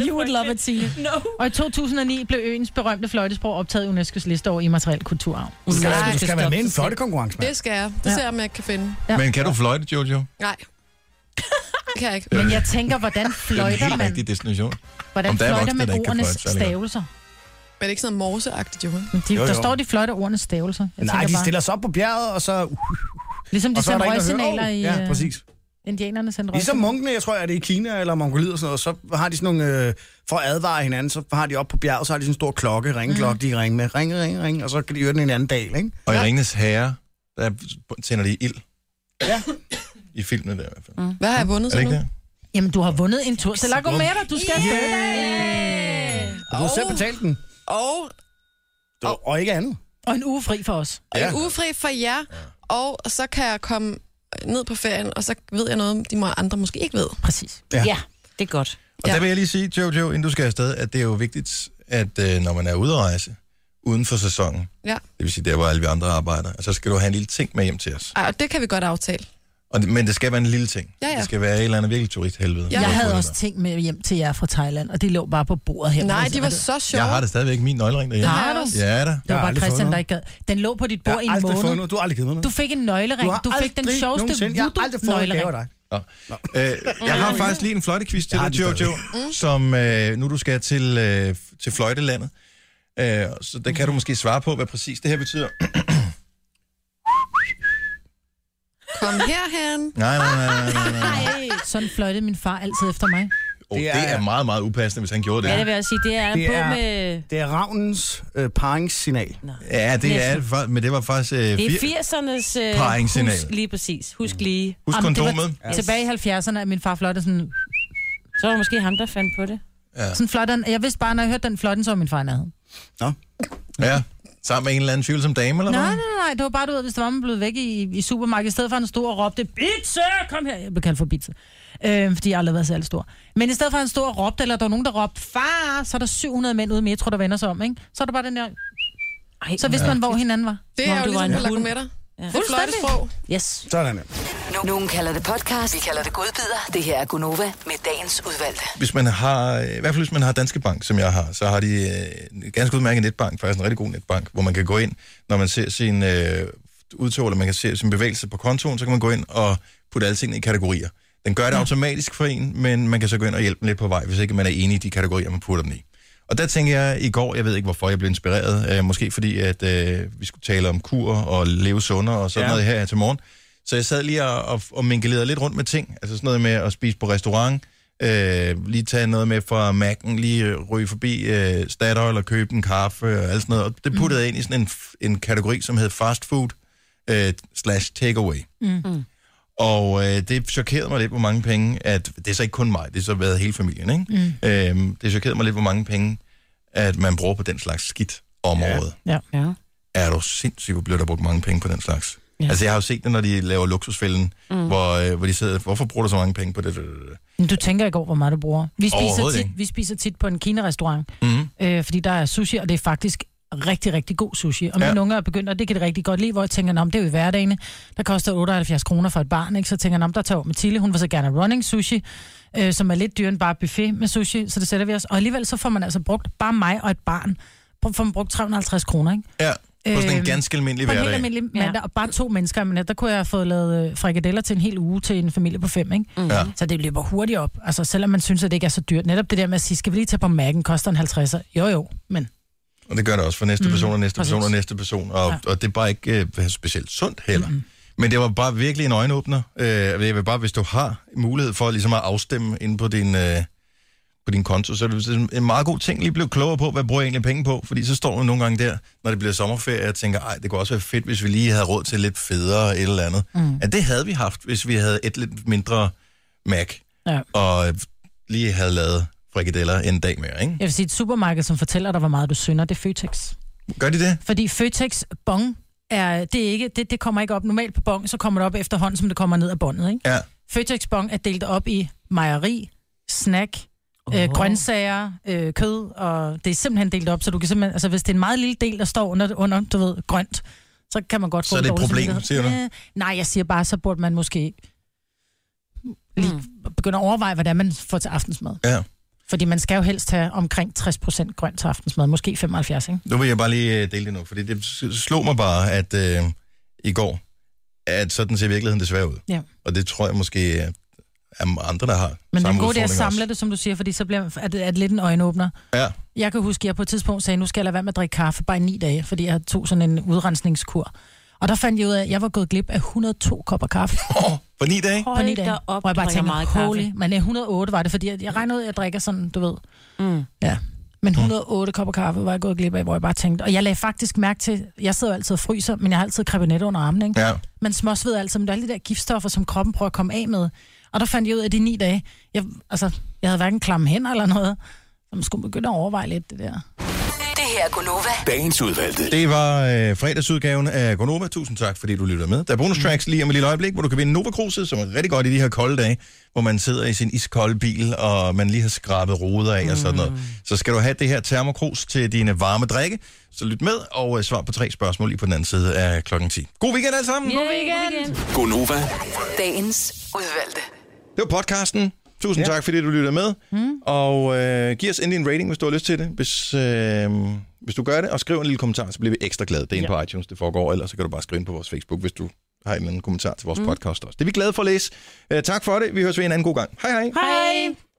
S3: nej.
S4: You would love it, Signe.
S3: No.
S4: Og i 2009 blev øens berømte fløjtesprog optaget i UNESCO's liste over immateriel kulturarv.
S2: Skal,
S6: Nej,
S2: du skal være med i en fløjtekonkurrence, mand.
S6: Det skal jeg. Det
S4: Ja.
S6: ser jeg, om jeg kan finde.
S1: Men kan du fløjte, Jojo?
S6: Nej. Det kan jeg ikke.
S4: Men jeg tænker, hvordan
S1: Det er en
S4: fløjter
S1: helt
S4: man,
S1: rigtig destination.
S4: hvordan
S1: Om der er
S4: fløjter
S1: voksne,
S4: man
S1: der ikke kan
S4: ordenes
S1: fløjte særlig godt.
S4: stavelser?
S6: Men det er ikke sådan noget morseagtigt, jo. ikke?
S4: Men De,
S2: Jo, jo.
S4: Der står, de fløjter ordenes stavelser. Jeg
S2: Nej,
S4: tænker
S2: de
S4: bare,
S2: stiller sig op på bjerget, og så... uh,
S4: Ligesom de
S2: og så er
S4: sendte
S2: der ikke noget
S4: røgsignaler
S2: at høre.
S4: i...
S2: Ja,
S4: øh,
S2: præcis.
S4: Indianerne sendte
S2: Ligesom
S4: røgsignaler.
S2: munkene, jeg tror, er det i Kina eller Mongoliet og sådan noget, så har de sådan nogle, øh, for at advare hinanden, så har de op på bjerget, så har de sådan en stor klokke,
S4: Mhm.
S2: ringeklokke, mm. de kan ringe med, ring, ring, ring, og så kan de høre den en anden dag, ikke?
S1: Og i Ringenes Herre, der tænder de ild.
S2: Ja.
S1: I filmen der i hvert fald. Er
S6: Hvad har jeg
S1: det
S6: vundet så nu?
S1: ikke det?
S4: Jamen, du har vundet en tur til Lago Mera, du skal afsted.
S2: Og du har selv betalt den,
S6: Og
S2: du, og ikke andet.
S4: Og en uge fri for os.
S1: Ja.
S6: ja. en ufri for jer, og så kan jeg komme ned på ferien, og så ved jeg noget, de må andre måske ikke ved.
S4: Præcis.
S2: Ja.
S3: Ja, det er godt.
S1: Og
S6: Ja.
S1: der vil jeg lige sige, Jojo, inden du skal afsted, at det er jo vigtigt, at øh, når man er ude at rejse, uden for sæsonen,
S6: Ja.
S1: det vil sige der, hvor alle vi andre arbejder, så skal du have en lille ting med hjem til os.
S6: Ej, og det kan vi godt aftale.
S1: Og det, men det skal være en lille ting.
S6: Ja, ja.
S1: Det skal være et eller andet virkelig turisthelvede.
S6: Ja.
S4: Jeg
S1: har
S4: havde
S1: fundet
S4: også
S1: dig.
S4: ting med hjem til jer fra Thailand, og det lå bare på bordet her.
S6: Nej,
S4: Altså,
S6: de var
S4: det-
S6: så sjove.
S1: Jeg har det stadigvæk min nøglering derhjemme.
S6: Har du?
S1: Ja, da.
S4: Det
S2: Jeg
S4: var
S2: har
S4: bare
S2: aldrig
S4: Christian,
S2: fået
S4: der ikke gad. Den lå på dit
S2: Jeg
S4: bord
S2: har
S4: i en
S2: aldrig fået
S4: måned.
S2: noget, du har aldrig givet mig noget.
S4: Du fik en nøglering. Du, fik den
S2: aldrig
S4: sjoveste
S2: nogensinde- Jeg har aldrig fået en gave af
S4: voodoo-nøglering.
S2: dig.
S1: Øh, jeg har faktisk lige en fløjtekvist til
S2: Jeg har
S1: dig,
S2: den
S1: Jojo, som øh, nu du skal til, øh, til fløjtelandet. Øh, så der kan du måske svare på, hvad præcis det her betyder.
S6: Kom herhen.
S1: Nej, nej, nej, nej, nej. nej.
S4: Sådan fløjtede min far altid efter mig.
S1: Oh, det,
S2: Det
S1: er...
S2: er-
S1: det er meget, meget upassende, hvis han gjorde
S3: Ja, det
S1: det.
S3: vil jeg sige, det er
S2: Det
S3: på
S2: er-
S3: med...
S2: Det er ravnens øh, paringssignal.
S1: Ja, det er det, fa- men det var faktisk... Øh,
S3: Det er
S1: fir...
S3: 80'ernes øh,
S1: Paringssignal. Mm.
S3: husk lige præcis. Husk lige.
S1: Husk
S4: Jamen, det var
S1: kondomet.
S4: t- Tilbage i 70'erne, at min far fløjtede sådan,
S3: Så var det måske ham, der fandt på det.
S4: sådan fløjtede. Jeg vidste bare, når jeg hørte den fløjten, så var min far i nærheden.
S1: Ja, sammen med en eller anden tvivl som dame, eller
S4: Nej,
S1: hvad?
S4: nej, nej, nej, det var bare, du ved, hvis der var man blevet væk i, i supermarkedet, i stedet for at han stod og råbte, pizza, kom her, jeg blev kaldt for pizza, øh, fordi jeg aldrig har været særlig stor. Men i stedet for at han stod og råbte, eller der var nogen, der råbte, far, så er der 700 mænd ude i metro, der vender sig om, ikke? Så er der bare den der,
S3: Ej,
S4: så vidste man, hvor hinanden var.
S6: Det
S3: Nå,
S6: er jo
S3: du var
S6: ligesom
S3: en
S6: på
S3: hund.
S6: lakometter. Ja. Det er
S4: Fuldstændig.
S6: fløjtesprog.
S3: Yes.
S2: Sådan der.
S7: No- Nogen kalder det podcast, vi kalder det godbider. Det her er Gunova med dagens udvalgte.
S1: Hvis man har, i hvert fald hvis man har Danske Bank, som jeg har, så har de øh, en ganske udmærket netbank, faktisk en rigtig god netbank, hvor man kan gå ind, når man ser sin øh, udtog, eller man kan se sin bevægelse på kontoen, så kan man gå ind og putte alle tingene i kategorier. Den gør det automatisk for en, men man kan så gå ind og hjælpe dem lidt på vej, hvis ikke man er enig i de kategorier, man putter dem i. Og der tænker jeg i går, jeg ved ikke hvorfor jeg blev inspireret, øh, måske fordi at øh, vi skulle tale om kur og leve sundere og sådan ja.
S2: Ja.
S1: noget her til morgen. Så jeg sad lige og, og, og minkelerede lidt rundt med ting, altså sådan noget med at spise på restaurant, øh, lige tage noget med fra Mac'en, lige øh, ryge forbi øh, Statoil og købe en kaffe og alt sådan noget. Og det puttede jeg ind i sådan en, f- en kategori, som hed fast food øh, slash takeaway. Og øh, det chokerede mig lidt, hvor mange penge, at det er så ikke kun mig, det har så været hele familien, ikke? Mm. Øhm, det chokerede mig lidt, hvor mange penge, at man bruger på den slags skidt om ja. året.
S4: Ja.
S3: Ja.
S1: Er du sindssygt, hvor bliver der brugt mange penge på den slags? Ja. Altså, jeg har jo set det, når de laver luksusfælden, mm.
S4: Mm.
S1: hvor, øh, hvor de sidder, hvorfor bruger du så mange penge på det? Mm.
S4: Men Du tænker ikke over, hvor meget du bruger. Vi spiser,
S1: Overhovedet ikke. Mhm.
S4: tit, vi spiser tit på en kinerestaurant, øh, fordi der er sushi, og det er faktisk rigtig, rigtig god sushi. Og mine
S1: Ja.
S4: ja. unger er begyndt, og det kan de rigtig godt lide, hvor jeg tænker, om det er jo i hverdagen, der koster 78 kroner for et barn, ikke? så tænker jeg, om der tager Mathilde, hun vil så gerne have running sushi, øh, som er lidt dyrere end bare buffet med sushi, så det sætter vi os. Og alligevel så får man altså brugt, bare mig og et barn, Prøv- får man brugt 350 kroner, ikke?
S1: Ja, på sådan en
S4: Øhm,
S1: ganske almindelig
S4: på en
S1: hverdag.
S4: helt almindelig mandag, og bare to mennesker om mandag, der kunne jeg have fået lavet øh, frikadeller til en hel uge til en familie på fem, ikke?
S1: Mhm. Ja.
S4: Så det løber hurtigt op. Altså, selvom man synes, at det ikke er så dyrt. Netop det der med at sige, skal vi lige tage på mærken, koster en 50'er? Jo, jo, men...
S1: Og det gør det også for næste
S4: Mm,
S1: person, og næste person, og
S4: præcis.
S1: næste person. Og, ja.
S4: Ja.
S1: og det er bare ikke øh, specielt sundt heller. Mm. Men det var bare virkelig en øjenåbner. Øh, jeg vil bare, hvis du har mulighed for ligesom at afstemme ind på din, øh, på din konto, så er det sådan en meget god ting lige at blive klogere på, hvad bruger jeg egentlig penge på? Fordi så står du nogle gange der, når det bliver sommerferie, og tænker, ej, det kunne også være fedt, hvis vi lige havde råd til lidt federe et eller andet. Mm.
S4: Mm.
S1: Ja, det havde vi haft, hvis vi havde et lidt mindre Mac,
S4: Ja.
S1: og øh, lige havde lavet frikadeller en dag mere, ikke?
S4: Jeg vil sige, et supermarked, som fortæller dig, hvor meget du synder, det er Føtex.
S1: Gør de det?
S4: Fordi Føtex bong er, det, er ikke, det, det kommer ikke op. Normalt på bong, så kommer det op efterhånden, som det kommer ned af båndet, ikke?
S1: Ja.
S4: Føtex bong er delt op i mejeri, snack, oh. øh, grøntsager, øh, kød, og det er simpelthen delt op, så du kan simpelthen, altså hvis det er en meget lille del, der står under, under du ved, grønt, så kan man godt få
S1: Så er det et
S4: dårlig
S1: problem,
S4: samvittighed.
S1: siger du?
S4: Øh, nej, jeg siger bare, så burde man måske lige begynde at overveje, hvordan man får til aftensmad.
S1: Ja.
S4: Fordi man skal jo helst have omkring 60% grønt til aftensmad, måske 75, ikke?
S1: Nu vil jeg bare lige øh, dele det nu, fordi det s- slog mig bare, at øh, i går, at sådan ser virkeligheden desværre ud.
S4: Ja.
S1: Og det tror jeg måske, øh, er andre, der har
S4: Men
S1: samme
S4: det gode det er at
S1: udfordring
S4: samle det, som du siger, fordi så bliver, er, det, er det lidt en øjenåbner.
S1: også. Ja,
S4: Jeg kan huske, at jeg på et tidspunkt sagde, nu skal jeg lade være med at drikke kaffe bare i ni dage, fordi jeg tog sådan en udrensningskur. Og der fandt jeg ud af, at jeg var gået glip af 102 kopper kaffe.
S1: for ni dage.
S4: på ni
S3: Hold
S4: dage.
S3: da op,
S4: hvor jeg
S3: du
S4: bare
S3: drikker meget
S4: tænker, meget
S3: kaffe.
S4: holy, men øh, 108 var det, fordi jeg, jeg regnede ud, at jeg drikker sådan, du ved.
S3: Mm.
S4: Ja. Men 108 kopper kaffe var jeg gået glip af, hvor jeg bare tænkte. Og jeg lagde faktisk mærke til, jeg sidder jo altid og fryser, men jeg har altid krebinet under armen, ikke?
S1: Ja.
S4: Man småsveder altid, men der er alle de der giftstoffer, som kroppen prøver at komme af med. Og der fandt jeg ud af de ni dage, jeg, altså, jeg havde hverken klamme hænder eller noget. Så man skulle begynde at overveje lidt det der.
S7: Det her er Gunova.
S9: Dagens udvalgte.
S1: det var øh, fredagsudgaven af Gonova. Tusind tak, fordi du lyttede med. Der er bonus tracks lige om et lille øjeblik, hvor du kan vinde Nova Cruiset, som er rigtig godt i de her kolde dage, hvor man sidder i sin iskolde bil, og man lige har skrabet ruder af mm. og sådan noget. Så skal du have det her termokrus til dine varme drikke, så lyt med og øh, svar på tre spørgsmål lige på den anden side af klokken 10. God weekend alle sammen!
S3: God weekend.
S9: Gonova.
S7: Dagens udvalgte.
S1: Det var podcasten. Tusind ja. tak, fordi du lytter med. Mm. Og øh, giv os endelig en rating, hvis du har lyst til det. Hvis, øh, hvis du gør det, og skriv en lille kommentar, så bliver vi ekstra glade. Det er inde ja. på iTunes, det foregår. Ellers så kan du bare skrive ind på vores Facebook, hvis du har en eller anden kommentar til vores mm. podcast også. Det er vi glade for at læse. Øh, tak for det. Vi høres ved en anden god gang. Hej hej.
S3: Hej.